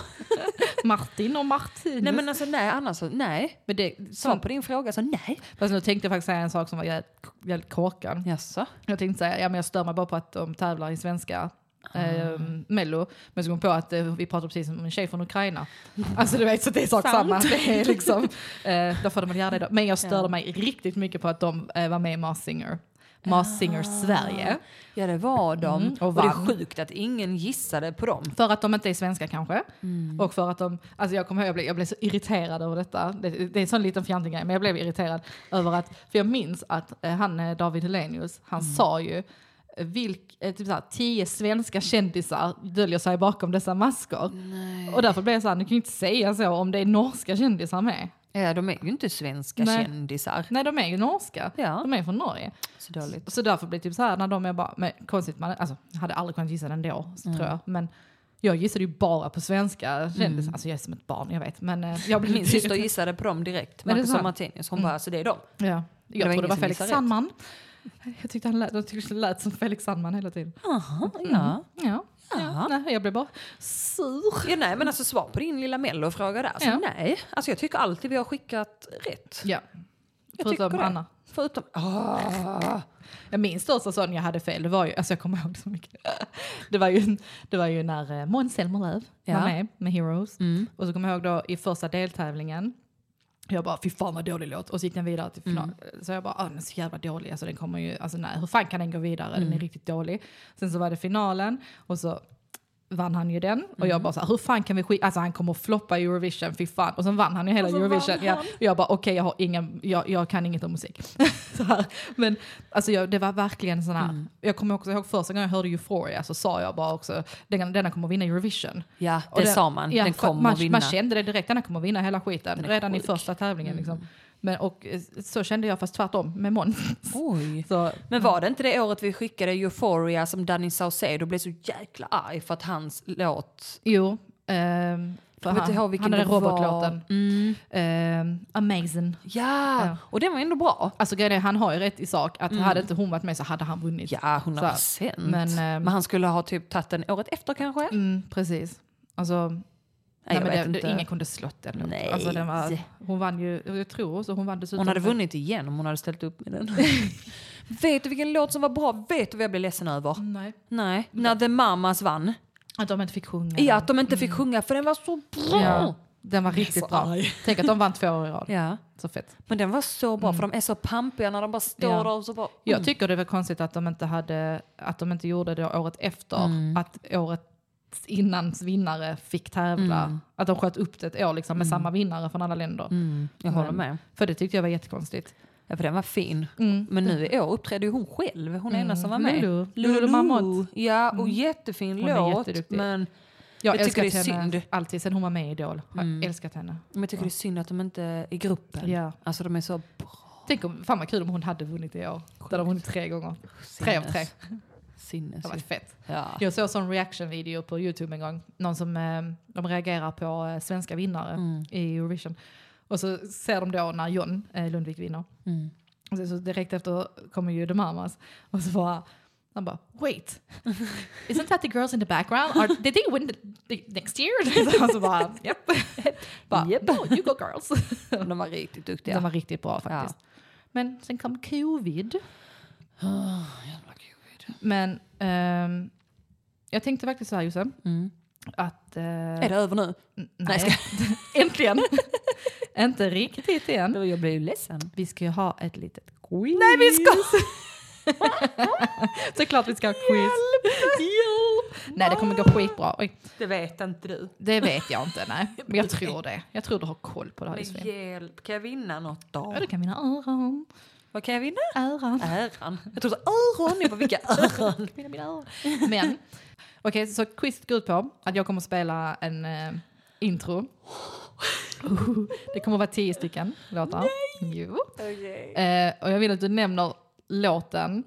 B: Martin och Martinus.
A: nej men alltså nej, annars så nej.
B: Men det,
A: Svar på din fråga så nej.
B: fast nu tänkte jag faktiskt säga en sak som var jävligt- jävligt korkad.
A: Jaså?
B: Jag tänkte säga, ja men jag stör mig bara på att de tävlar i svenska eh, mello. Men så kom jag på att eh, vi pratar precis om en tjej från Ukraina. Alltså du vet, så det är sak
A: Sant.
B: samma. Det är liksom, eh, då får de väl göra det då. Men jag störde mig riktigt mycket på att de eh, var med i Mars Singer. Mars Singer Sverige.
A: Ja det var de.
B: Mm, och
A: och, det
B: vann.
A: är sjukt att ingen gissade på dem.
B: För att de inte är svenska kanske. Och för att de, alltså jag kommer ihåg, jag blev, jag blev så irriterad över detta. Det, det är en sån liten fjantig grej, men jag blev irriterad över att, för jag minns att eh, han eh, David Hellenius, han sa ju eh, Vilk, eh, typ såhär, tio svenska kändisar döljer sig bakom dessa masker. Och därför blev jag såhär, ni kan ju inte säga så om det är norska kändisar med.
A: Ja de är ju inte svenska
B: Nej.
A: kändisar.
B: Nej de är ju norska,
A: Ja.
B: de är från Norge.
A: Så dåligt.
B: Så därför blir det typ så här när de är bara, men konstigt man, alltså jag hade aldrig kunnat gissa den då, så
A: Mm.
B: tror jag. Men jag gissade ju bara på svenska kändisar, alltså jag är som ett barn, jag vet. Men eh, jag blev
A: Mm. Min syster
B: irriterad.
A: gissade på dem direkt.
B: Men det är
A: Marcus och
B: sant.
A: Martinius. Hon bara alltså det är dem.
B: Ja.
A: det
B: Jag
A: var
B: trodde det
A: ingen
B: var
A: som
B: Felix
A: gissade rätt.
B: Sandman. Jag tyckte han lät, jag tyckte det lät som Felix Sandman hela tiden.
A: Jaha, ja.
B: Ja, ja. Nej, jag blev bara sur.
A: Ja, nej, men alltså svar på din lilla mellofråga där. Så
B: Ja.
A: Nej, alltså jag tycker alltid vi har skickat rätt.
B: Ja.
A: Jag
B: Förutom
A: tycker det.
B: Anna.
A: Förutom... Ah.
B: Ja, min största sån jag hade fel, det var ju, alltså jag kommer ihåg det så mycket. Det var ju, det var ju när eh, Måns Zelmerlöw
A: Ja.
B: var med med Heroes. Och så kommer jag ihåg då i första deltävlingen, jag bara fy fan vad dålig låt. Och så gick den vidare till final. Så jag bara, ah, den är så jävla dålig. Alltså den kommer ju, alltså nej, hur fan kan den gå vidare? Den är riktigt dålig. Sen så var det finalen och så vann han ju den. Och jag bara så här, hur fan kan vi skita, alltså han kommer att floppa i Eurovision, fy fan. Och sen vann han ju hela Eurovision. Ja. Och jag bara okej, jag har ingen, jag, jag kan inget om musik. så här. Men alltså jag, det var verkligen sån här,
A: Mm.
B: jag kommer också ihåg första gången jag hörde Euphoria så sa jag bara också, denna, denna kommer att vinna Eurovision.
A: Ja,
B: Och
A: det sa man. Den
B: för
A: kommer
B: man,
A: att vinna.
B: Man kände det direkt, den här kommer att vinna hela skiten.
A: är
B: Redan
A: sjuk. Mm.
B: i första tävlingen liksom. Men, och eh, så kände jag fast tvärtom med Måns.
A: Oj.
B: Så,
A: Men var det inte det året vi skickade Euphoria som Danny Saucedo blev så jäkla arg för att hans låt...
B: jo. ehm, för
A: Jag vet
B: han,
A: inte ihåg
B: han
A: vilken
B: hade
A: det var. Mm.
B: robotlåten. Ehm, amazing.
A: Ja, och den var ändå bra.
B: Alltså grejen är, han har ju rätt i sak att hade inte hon varit med så hade han vunnit.
A: Mm. Ja, 100
B: Så,
A: procent.
B: men,
A: Men,
B: eh,
A: han skulle ha typ tagit den året efter kanske? Nej,
B: Mm, precis. Alltså, nej,
A: jag
B: men
A: vet
B: det,
A: inte.
B: Det, ingen kunde slått den låten.
A: Nej.
B: Alltså, den var, hon vann ju, jag tror också hon vann dessutom.
A: Hon hade vunnit igen om hon hade ställt upp med den. vet du vilken låt som var bra? Vet du vad jag blev ledsen över?
B: Nej.
A: Nej, när The Mamas vann.
B: Att de inte fick sjunga.
A: I
B: den.
A: att de inte fick sjunga för den var så bra.
B: Ja, den var riktigt bra. Tänk att de vann två år i rad.
A: Ja.
B: Så fett.
A: Men den var så bra för de är så pampiga när de bara står
B: Ja.
A: där och så bara...
B: Jag tycker det var konstigt att de inte, hade, att de inte gjorde det året efter.
A: Mm.
B: Att året innans vinnare fick tävla.
A: Mm.
B: Att de sköt upp det ett år liksom, med samma vinnare från alla länder.
A: Mm. Jag håller med.
B: För det tyckte jag var jättekonstigt.
A: Ja, för den var fin. Men nu i år uppträdde ju hon själv, hon enda som var med.
B: Lulu. Lulu Marmot.
A: Ja, och jättefin
B: Hon är
A: låt.
B: jätteduktig.
A: Men,
B: Jag,
A: Jag tycker
B: älskat
A: det är
B: henne
A: synd. Mm.
B: alltid sen hon var med i Idol. Har Jag älskat henne.
A: men jag tycker det är synd att de inte i gruppen.
B: Ja.
A: Alltså de är så...
B: Tänk om, fan vad kul om hon hade vunnit i år. Då hade hon vunnit tre gånger. Tre av tre.
A: Sinnes. Sinnes.
B: Det var fett.
A: Ja.
B: Jag såg en sån reaction-video på Youtube en gång. Någon som eh, de reagerar på eh, svenska vinnare
A: Mm.
B: i Eurovision. Och så ser de då när John eh, Lundvik vinner. Och sen så direkt efter kommer ju The Mamas. Och så bara, han bara wait. Isn't that the girls in the background? Are, did they win the, the next year? Och så bara, yep. bara
A: Japp.
B: no, you go girls.
A: De var riktigt duktiga.
B: Den var riktigt bra faktiskt. Men sen kom covid.
A: Ah, Jävla covid.
B: Men ehm, jag tänkte faktiskt så här Jossan. Att... eh,
A: Är det över nu?
B: nej. Äntligen! Inte riktigt än.
A: Jag blev ju ledsen.
B: Vi ska ju ha ett litet quiz. Nej vi ska! Såklart vi ska ha quiz. Hjälp! Nej det kommer gå skitbra. Oj,
A: Det vet inte du.
B: det vet jag inte nej. Men jag tror det. Jag tror du har koll på det här Josefin.
A: hjälp, kan jag vinna något då?
B: Ja, du kan vinna öron.
A: Vad kan jag vinna?
B: Öron.
A: Äran. Jag trodde öron, jag bara vilka öron?
B: Mina, mina öron. Men, okej, så quizet går ut på att jag kommer att spela en eh, intro. Det kommer vara tio stycken låtar. Jo. Eh, och jag vill att du nämner låten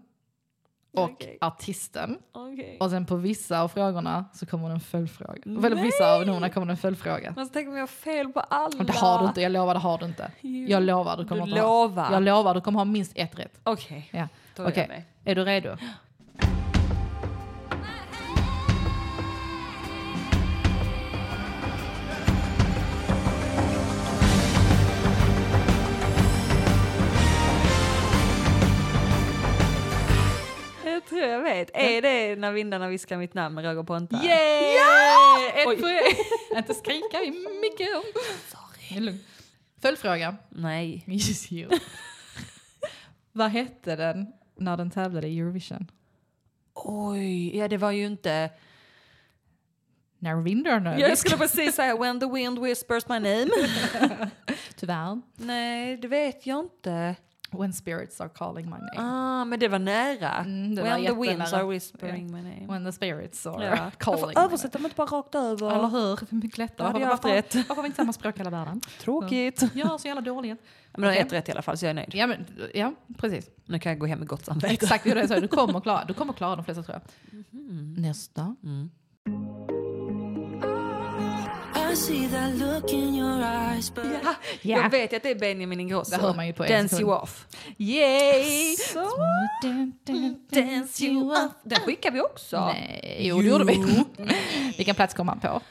B: och
A: Okej.
B: artisten.
A: Okej.
B: Och sen på vissa av frågorna så kommer det en följdfråga. Eller på vissa av numren kommer det en följdfråga.
A: Men så tänker man jag har fel på alla.
B: Och Det har du inte, jag lovar det har du inte.
A: Jo.
B: Jag lovar du kommer
A: Du
B: inte ha.
A: lovar.
B: Jag lovar du kommer ha minst ett rätt.
A: Okej.
B: Ja.
A: Då är jag
B: Okej,
A: med.
B: är du redo?
A: Jag tror jag vet. Är det När vindarna viskar mitt namn med Roger Ponta?
B: Yay! Ja! Ett poäng. Inte skrika i micken. Det är lugnt. Följdfråga.
A: Nej.
B: Yes, you. Vad hette den när den tävlade i Eurovision?
A: Oj, ja det var ju inte...
B: När vindarna
A: Jag skulle precis säga When the wind whispers my name.
B: Tyvärr.
A: Nej, det vet jag inte.
B: When spirits are calling my name.
A: Ah, men det var nära.
B: Mm, det var
A: When the winds
B: jättenära.
A: are whispering my name.
B: When the spirits are
A: Ja.
B: calling
A: Varför översätter de inte bara rakt
B: my name. Eller
A: över?
B: hur? Det är mycket lättare.
A: hade jag
B: varför,
A: haft
B: varför har vi inte samma språk i hela världen?
A: Tråkigt.
B: Jag är så jävla dålig.
A: Men jag har ett rätt i alla fall så jag är nöjd.
B: Ja, men, ja precis.
A: Nu kan jag gå hem med gott samvete.
B: Exakt det jag sa. Du kommer klara, du kommer klara de flesta tror jag.
A: Mhm.
B: Nästa.
A: Mm.
G: I see that look in your eyes, but
A: Jag vet ju att det är Benjamin Ingrosso.
B: Det hör man ju på en
A: Dance
B: sekund. Alltså,
A: you off.
B: Yay!
A: Dance you off. Den skickar vi också.
B: Nej, jo, det gjorde vi. Vilken plats kom han på?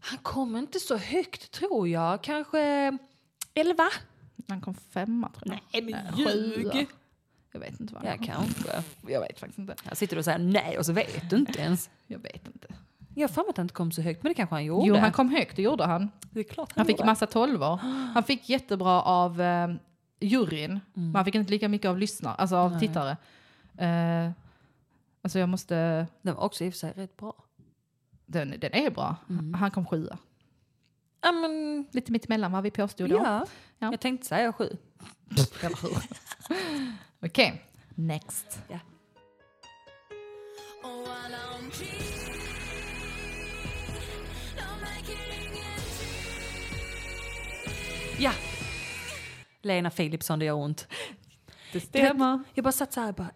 A: Han kom inte så högt tror jag. Kanske 11?
B: Han kom femma tror jag.
A: Nej men
B: Sjua. Jag vet inte vad han
A: Ja
B: kom.
A: kanske.
B: Jag vet faktiskt inte.
A: Här sitter du och säger nej och så vet du inte ens.
B: Jag vet inte.
A: Jag har för mig att han inte kom så högt men det kanske han gjorde.
B: Jo, han kom högt, det gjorde han.
A: Det är klart han,
B: Han fick
A: gjorde.
B: massa tolvor. Han fick jättebra av eh, juryn,
A: Mm.
B: men han fick inte lika mycket av lyssnare, alltså av tittare. Eh, alltså jag måste...
A: Den var också i och för sig rätt bra.
B: Den, den är bra.
A: Mm.
B: Han kom sjua.
A: Ja men
B: Lite mittemellan vad vi påstod då.
A: ja.
B: Ja.
A: Jag tänkte säga sju.
B: Eller hur? Okej, next.
G: oh, I don't care. I'm making it
A: Ja! Lena Philipsson, det gör ont.
B: Det
A: Jag bara satt så här bara,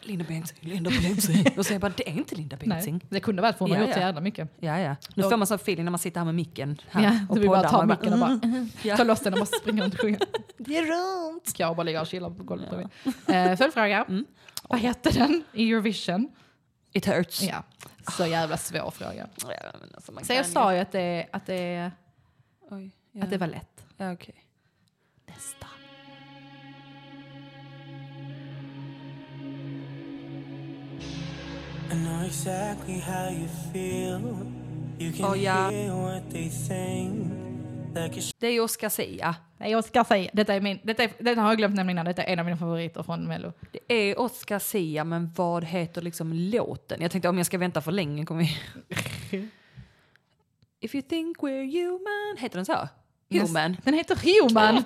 A: Linda Bengtzing, Linda Bengtzing. Och så jag bara, det är inte Linda
B: Nej,
A: Bengtzing.
B: det kunde varit för hon har
A: Ja,
B: gjort så
A: ja.
B: jävla mycket.
A: Ja, ja. Nu får man sån feeling när man sitter här med micken här
B: Ja, du vill bara
A: poddar.
B: ta
A: Man mm,
B: micken och bara
A: Ja.
B: ta loss den och bara springa runt och sjunga.
A: Det är runt. Mm.
B: Ska jag bara ligga och chilla på golvet bredvid. Eh, Följdfråga. Vad hette den i Eurovision?
A: It hurts.
B: Ja, så jävla svår fråga.
A: Ja, men alltså, man
B: Så jag
A: kan
B: sa
A: ju.
B: ju att det, att det,
A: Oj, ja.
B: att det var lätt.
A: ja, okej.
B: Nästa.
H: I know exactly how you feel. You can
A: Oh, yeah.
H: hear what they think. Like a
A: Det är ju Oscar Sia.
B: Nej, jag ska säga, detta, är min, detta, är, detta har jag glömt nämligen innan, detta är en av mina favoriter från Mello.
A: Det är Oscar Sia, men vad heter liksom låten? Jag tänkte om jag ska vänta för länge kommer jag- If you think we're human. Heter den så? Human.
B: Den heter Human!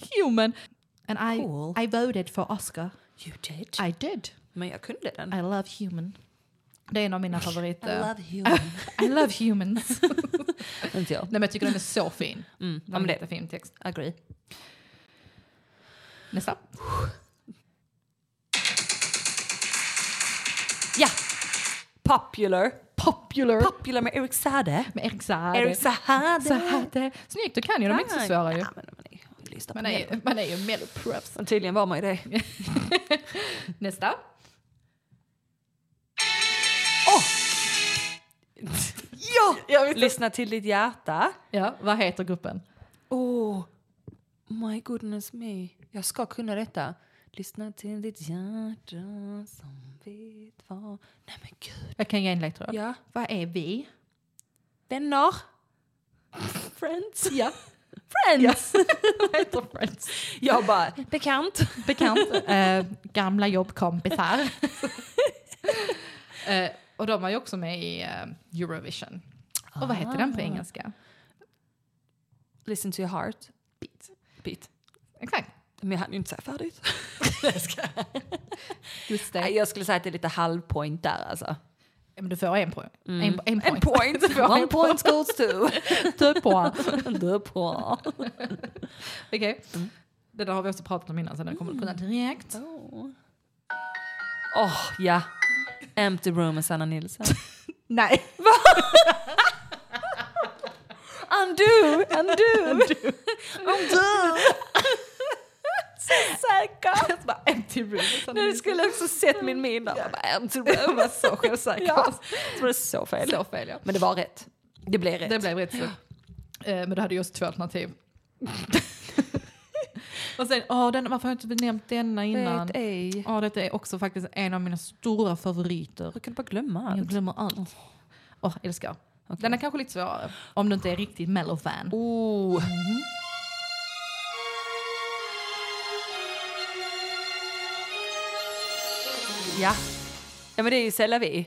B: Human! And I,
A: Cool.
B: I voted for Oscar.
A: You did.
B: I did.
A: Men jag kunde den.
B: I love eh, human. Det är en av mina favoriter.
A: human.
B: I love humans. Nej,
A: Inte jag.
B: men jag tycker den är så fin.
A: Mm.
B: Den
A: Ja, men
B: har
A: det-
B: jättefin text.
A: Agree.
B: Nästa.
A: Ja! Popular.
B: Popular.
A: Popular med Eric Sade.
B: med Erik Saade.
A: Eric Sade.
B: Saade. Snyggt, du kan ju. De är inte så svåra ju.
A: Ja, men man är ju, lyssnar på
B: Man är
A: det.
B: ju, man är ju melloproffs.
A: Men tydligen var man ju det.
B: Nästa.
A: Ja! Lyssna till ditt hjärta.
B: Ja, vad heter gruppen?
A: Oh, my goodness me. Jag ska kunna detta. Lyssna till ditt hjärta som vet vad... Nej men gud.
B: Jag kan ge en ledtråd.
A: Ja.
B: Vad är vi?
A: Vänner. Friends.
B: Ja.
A: Friends!
B: Vad heter friends?
A: Jag bara, bekant.
B: Bekant. eh, gamla jobbkompisar. eh, och de var ju också med i eh, Eurovision. Och vad heter den på engelska?
A: Ah. Listen to your heart.
B: Beat.
A: Beat.
B: Exakt.
A: Men jag hann ju inte säga färdigt.
B: Just det.
A: Nej, Jag skulle säga att det är lite halvpoint där alltså.
B: Men du får en poäng. En, Mm. en
A: En point.
B: point. Typ Du får en
A: One point goes to.
B: Two point.
A: Du på.
B: Okej. Det där har vi också pratat om innan så den kommer kunna direkt.
A: Åh, oh, ja. Empty room med Sanna Nilsson.
B: Nej.
A: Undo, undo. undo.
B: Säker. bara empty room. Sen
A: Nu skulle jag också sett min min där. Jag bara, Empty room.
B: var så självsäker.
A: Ja. Så var det så fel.
B: Så fel ja.
A: Men det var rätt. Det blev rätt.
B: Det blev rätt så. Eh, Men du hade just två alternativ. Och sen, åh, den, varför har jag inte nämnt denna innan?
A: Vet ej.
B: Ja, detta är också faktiskt en av mina stora favoriter.
A: Du kan bara glömma allt.
B: Jag glömmer allt. Åh, älskar. Den är kanske lite svårare. Om du inte är riktigt mellow-fan.
A: Oh. Ja. ja, men det är ju C'est la vie.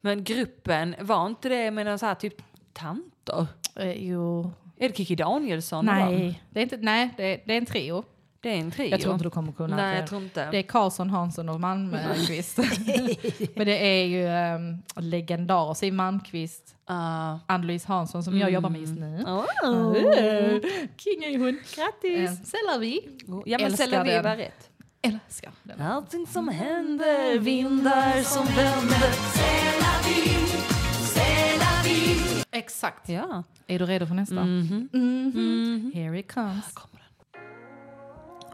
A: Men gruppen, var inte det med någon så här typ tanter?
B: Eh, jo.
A: Är det Kikki Danielsson? va?
B: Nej, det är, inte, nej det, är, det är en trio.
A: Det är en trio.
B: Jag tror inte du kommer kunna.
A: Nej,
B: det. Mm.
A: jag tror inte.
B: Det är Karlsson, Hansson och Malmqvist. Men det är ju um, legendarer. Siw Malmqvist,
A: Ah.
B: Ann-Louise Hansson som jag jobbar med just nu.
A: Oh.
B: King Ehm. är hon. Grattis! Sällar vi.
A: Ja, men
B: Älskar
A: C'est la vie
B: den.
A: var rätt.
B: Älskar den.
A: Allting som händer, vindar som vänder.
B: Exakt.
A: Ja.
B: Är du redo för nästa? Mhm. Here it comes.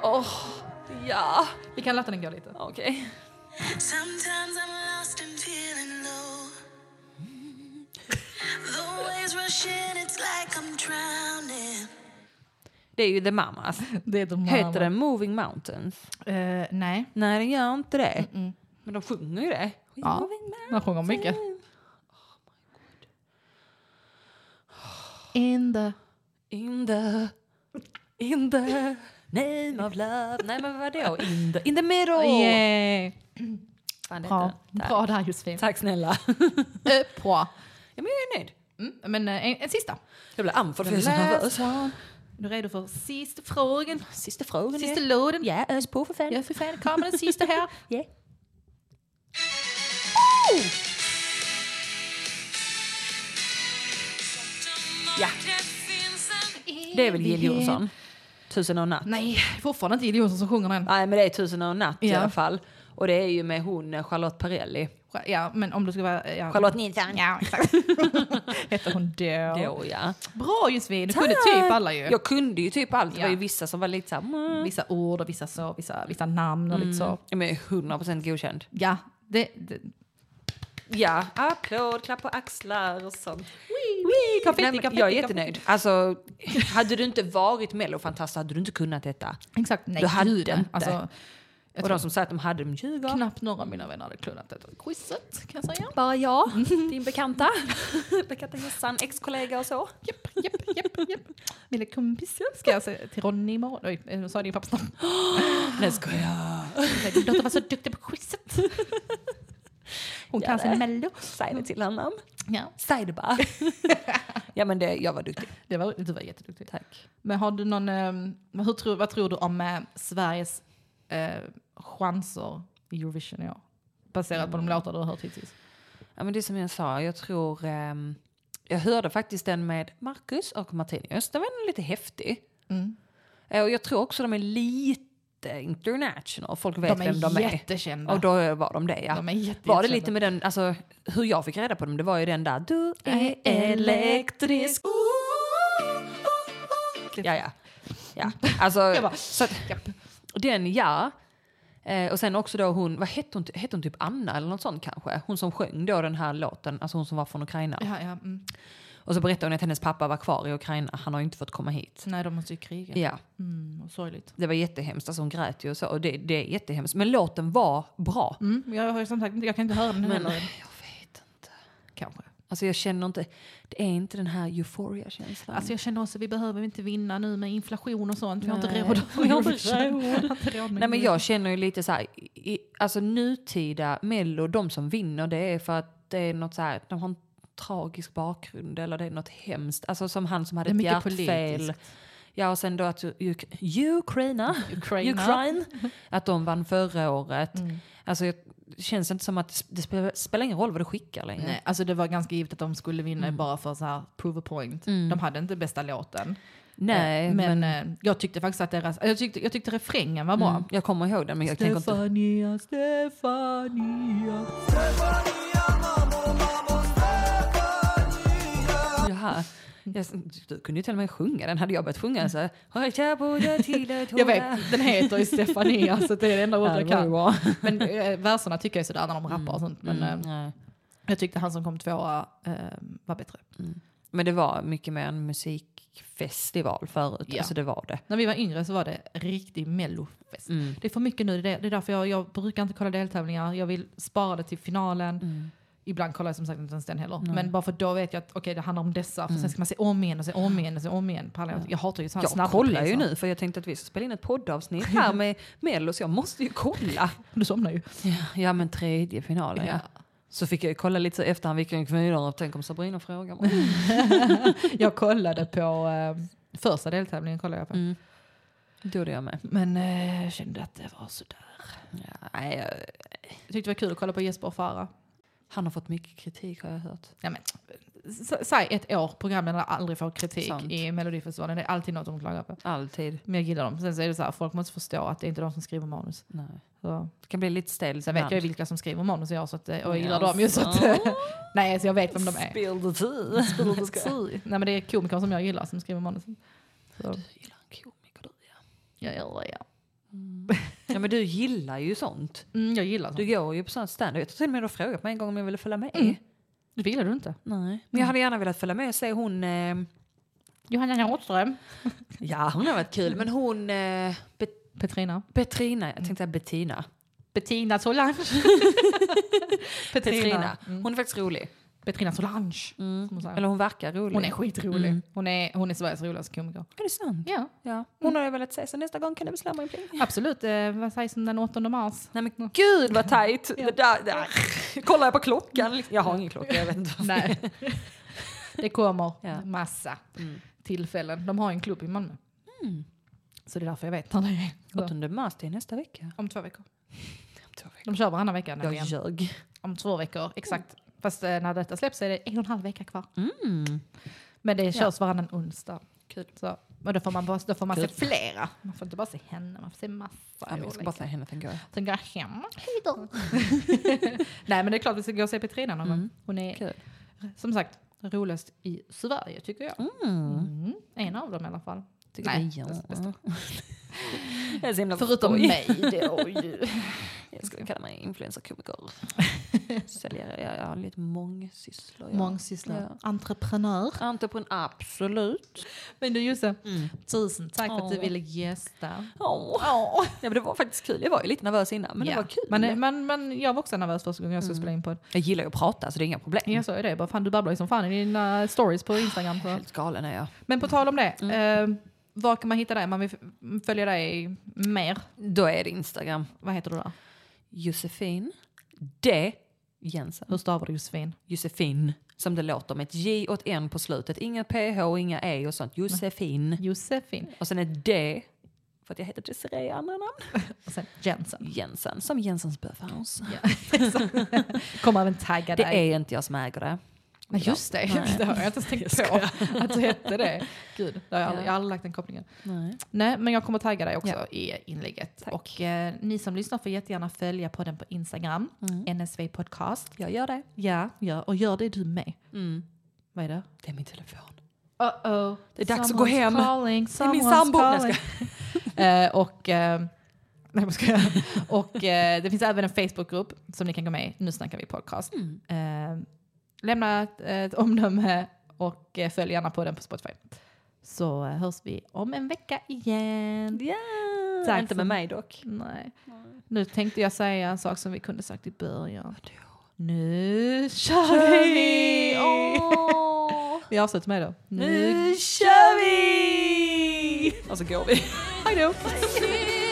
A: Åh, ja.
B: Vi kan låta den gå lite.
A: Okej.
C: Sometimes I'm lost and feeling low. The waves rush in, it's like I'm drowning.
A: Det är ju The Mamas.
B: Det är The Mama.
A: Heter den Moving Mountains?
B: Eh, nej.
A: Nej, den gör inte det. Men de sjunger ju det.
B: Ja. Den sjunger mycket. In the...
A: In the, in the name of love. Nej, men vadå? In the, in the middle!
B: Yay!
A: Fan, det
B: Bra.
A: heter den. Tack.
B: Bra där Josefin.
A: Tack snälla.
B: Eh, Bra.
A: ja, men jag är nöjd.
B: Mm, Men eh, en, en sista.
A: Jag blev andfådd för jag är så nervös.
B: Last one. Är du redo för sista frågan?
A: Sista frågan
B: Sista
A: är...
B: lådan?
A: Ja, ös på för fan.
B: Ja, för fan. Kommer den sista här? Oh!
A: Ja. Ja. Det är väl Jill Johnson? Tusen och en natt.
B: Nej, fortfarande inte Jill Johnson som sjunger den.
A: Nej, men det är Tusen och en natt i
B: Ja.
A: alla fall. Och det är ju med hon eh, Charlotte Perrelli.
B: Ja, men om du ska vara... Ja.
A: Charlotte Nilsson.
B: Ja, exakt. Hette hon då.
A: Då, ja.
B: Bra Josefin, du kunde typ alla ju.
A: Jag kunde ju typ allt. Det var ju
B: Ja.
A: vissa som var lite så här... Mm.
B: Vissa ord och vissa så, vissa, vissa namn och lite så.
A: Ja, men jag är 100% godkänd.
B: Ja, det, det.
A: Ja, applåd, klapp på axlar och sånt.
B: konfetti,
A: Nej, men
B: konfetti,
A: jag är
B: konfetti.
A: jättenöjd. Alltså, hade du inte varit mellofantast hade du inte kunnat detta.
B: Exakt, nej
A: Du hade
B: gud, nej.
A: inte.
B: Alltså,
A: Och de som sa att de hade, de ljuger.
B: knappt några av mina vänner hade kunnat detta quizet kan jag säga.
A: Bara jag, din bekanta, bekanta Jossan, ex-kollega och så.
B: Japp, japp, japp, japp. Mina kompisar ska jag säga till Ronny imorgon. Oj, eh, nu sa jag din pappas namn.
A: Nej, skojar.
B: Din dotter var så duktig på quizet. Hon kan sin mello.
A: Säg det till honom.
B: Ja,
A: Säg det bara. ja, men det, jag var duktig.
B: det var, du var jätteduktig.
A: Tack.
B: Men har du någon, ehm, hur tror, vad tror du om eh, Sveriges eh, chanser i Eurovision i år? Baserat på de
A: Mm.
B: låtar du har hört hittills.
A: Ja, men det är som jag sa, jag tror... ehm, jag hörde faktiskt den med Marcus och Martinius. Den var ändå lite häftig. Eh, Och jag tror också de är lite international. Folk vet vem de är.
B: jättekända.
A: Och då var de det, ja.
B: De är jätte-
A: var det
B: jättekända.
A: lite med den, alltså hur jag fick reda på dem, det var ju den där du är elektrisk. Ja, ja. ja. Alltså,
B: bara,
A: så att, den ja. Eh, och sen också då hon, vad hette hon, hette hon typ Anna eller något sånt kanske? Hon som sjöng då den här låten, alltså hon som var från Ukraina.
B: ja, ja, mm.
A: Och så berättade hon att hennes pappa var kvar i Ukraina, han har ju inte fått komma hit.
B: Nej, de måste ju kriga.
A: Ja,
B: Mm, sorgligt.
A: det var jättehemskt, alltså hon grät ju och så. Och det, det är jättehemskt. Men låten var bra.
B: Mm, jag, har ju som sagt, inte- jag kan inte höra den
A: Men jag
B: heller.
A: vet inte.
B: Kanske.
A: Alltså jag känner inte, det är inte den här euphoria-känslan.
B: Alltså jag känner också att vi behöver inte vinna nu med inflation och sånt. Vi har inte
A: Nej.
B: råd.
A: Vi har inte råd.
B: Vi har inte
A: Nej
B: råd med
A: men
B: Eurovision.
A: jag känner ju lite så här, i, i- alltså nutida mello, de som vinner det är för att det är något så här, de har en tragisk bakgrund eller det är något hemskt. Alltså som han som hade
B: Det är
A: ett
B: mycket
A: hjärtfel.
B: politiskt.
A: Ja, och sen då att Uk- Ukraina,
B: Ukraina. Mm.
A: Ukraine, att de vann förra året. Alltså, jag- det känns inte som att det sp- det spe- spelar ingen roll vad du skickar längre.
B: Nej, alltså det var ganska givet att de skulle vinna
A: Mm.
B: bara för så här prove a point. De hade inte bästa låten.
A: Nej,
B: Eh,
A: men,
B: men, eh, jag tyckte faktiskt att deras, jag tyckte, jag tyckte refrängen var bra.
A: mm, jag kommer ihåg den men jag tänker inte...
B: Stefania, Stefania.
A: Jaha. Jag, du kunde ju till och med sjunga den. Hade jag börjat sjunga så... Jag borde till ett
B: Jag vet, den heter ju Stefania så det är det enda ordet jag kan.
A: bra. Mm.
B: Men eh, verserna tycker jag är sådär när de rappar och sånt. Men eh,
A: Nej.
B: jag tyckte han som kom tvåa eh, var bättre.
A: Men det var mycket mer en musikfestival förut.
B: Ja.
A: Alltså det var det.
B: När vi var yngre så var det riktig mellofest. Det är för mycket nu, det är, det är därför jag, jag brukar inte kolla deltävlingar. Jag vill spara det till finalen.
A: Mm.
B: Ibland kollar jag som sagt inte ens den heller. Men bara för då vet jag att okej det handlar om dessa. För sen ska man se om igen och se om igen och se om igen. Pallar Jag, jag hatar ju så här
A: Mm. Jag
B: snabba
A: kollar ju
B: priser.
A: nu för jag tänkte att vi ska spela in ett poddavsnitt här med Mello så jag måste ju kolla.
B: Du somnar ju.
A: Ja men tredje finalen ja. Så fick jag ju kolla lite så efterhand vilken kvinna och tänk om Sabrina frågar mig.
B: Jag kollade på eh, första deltävlingen. Kollade jag på.
A: Mm. Då gjorde jag med.
B: Men eh, jag kände att det var sådär.
A: Ja, nej, jag-
B: Jag tyckte det var kul att kolla på Jesper och Farah.
A: han har fått mycket kritik har jag hört.
B: Ja, men, s- säg ett år program där de aldrig får kritik
A: Sant.
B: i Melodifestivalen. Det är alltid något de klagar på.
A: Alltid.
B: Men jag gillar dem. Sen så är det så här, folk måste förstå att det är inte de som skriver manus.
A: Nej.
B: Så.
A: Det kan bli lite stelt.
B: Sen vet jag ju vilka som skriver manus och jag, så att, eh, och jag gillar dem ju. Så att, eh, nej, så jag vet vem de är.
A: Spill the tea. Spill the tea.
B: Nej, men det är komiker som jag gillar som skriver manus. Så.
A: Du gillar en komiker du ja.
B: Jag gillar, ja.
A: ja men du gillar ju sånt.
B: Mm, jag gillar
A: Du
B: sånt.
A: går ju på sånt stand. Jag tror till och med du har frågat mig en gång om jag ville följa med.
B: Det gillar du inte.
A: Mm. Nej. Men jag hade gärna velat följa med och se hon... Eh,
B: Johanna Nordström.
A: ja hon har varit kul. Men hon... Eh, Be-
B: Petrina.
A: Petrina, jag tänkte säga Bettina.
B: Bettina Solange.
A: Petrina.
B: Petrina.
A: Hon är faktiskt rolig.
B: Petrina Solange. som hon säger.
A: Eller hon verkar rolig.
B: Hon är skitrolig. Hon, är, hon är Sveriges roligaste komiker.
A: Är det sant?
B: Ja,
A: Ja. Hon har jag velat se så nästa gång kan du bestämma en pling.
B: absolut. Eh, vad sägs om den 8 mars?
A: Nej men gud vad tajt! Det där, där. Kollar jag på klockan? Jag har ingen klocka, jag vet inte. varför.
B: Nej. Det kommer
A: Ja. Mm.
B: massa tillfällen. De har ju en klubb i Malmö. Så det är därför jag vet när det är. Så,
A: 8 mars, det är nästa vecka.
B: Om två veckor. De kör varannan vecka nämligen.
A: Jag ljög.
B: Om två veckor, exakt. Fast eh, när detta släpps är det en och en halv vecka kvar.
A: Mm.
B: Men det körs varannan onsdag. Kul. Så, och då får man, bara, då får man se flera. Man får inte bara se henne, man får se massa.
A: Ja, men jag ska
B: olika.
A: bara säga henne, tänker jag.
B: Sen går jag hem. Hej då. Nej men det är klart vi ska gå och se Petrina någon gång. Hon är
A: Mm. Kul.
B: som sagt roligast i Sverige tycker jag. Mm. En av dem i alla fall.
A: Tycker
B: Nej,
A: jag.
B: det är bäst.
A: Jag är så himla
B: Förutom
A: skoj.
B: mig då ju.
A: Jag skulle kalla mig influencerkomiker. Säljare, jag, jag har lite mångsysslor. jag.
B: Mångsysslare.
A: Ja.
B: Entreprenör.
A: Entreprenör, absolut.
B: Men du Josse,
A: Mm.
B: tusen tack för att du
A: Åh.
B: ville gästa.
A: Åh. Ja, men det var faktiskt kul. Jag var ju lite nervös innan, men
B: Ja.
A: det var kul.
B: Men, eh, men, men jag var också nervös första gången jag skulle
A: Mm.
B: spela in podd.
A: jag gillar ju att prata, så det är inga problem.
B: Jag sa ju det, bara, fan, du babblar ju som fan i dina stories på Instagram. Så.
A: Helt Mm. galen är jag.
B: Men på tal om det, eh, var kan man hitta dig? Man vill f- följa dig mer.
A: Då är det Instagram.
B: Vad heter du där?
A: Josefin D. Jensen.
B: Hur stavar du Josefin?
A: Josefin, som det låter med ett J och ett N på slutet. Inga PH, inga E och sånt. Josefin.
B: Josefin.
A: Och sen ett D, för att jag heter Desiree i andra namn.
B: Och sen Jensen.
A: Jensen, som Jensens Böfhaus.
B: Kommer även tagga
A: Det
B: dig.
A: är inte jag som äger det.
B: Nej, just det, det har jag inte ens tänkt på. Att du hette det. Gud, det har jag, aldrig, jag har aldrig lagt den kopplingen.
A: Nej.
B: Nej, men jag kommer tagga dig också
A: Ja.
B: i inlägget. Och eh, ni som lyssnar får jättegärna följa podden på Instagram, NSV Podcast.
A: Jag gör det.
B: Ja, ja, och gör det du med. Vad är det?
A: Det är min telefon.
B: Uh-oh.
A: Det är dags att gå hem.
B: Calling,
A: är min
B: someone's
A: sambo.
B: Calling. Eh, och... eh, nej, jag skojar. Och eh, det finns även en Facebookgrupp som ni kan gå med i. Nu snackar vi podcast. Eh, lämna ett, ett omdöme och eh, följ gärna på den på Spotify. Så eh, hörs vi om en vecka igen.
A: Yeah.
B: Tack
A: Inte
B: så
A: med mig dock.
B: Nej. Nu tänkte jag säga en sak som vi kunde sagt i början. Nu kör vi! Åh. Vi avslutar med det. Nu
A: kör vi! Och så går vi.
B: Hej då!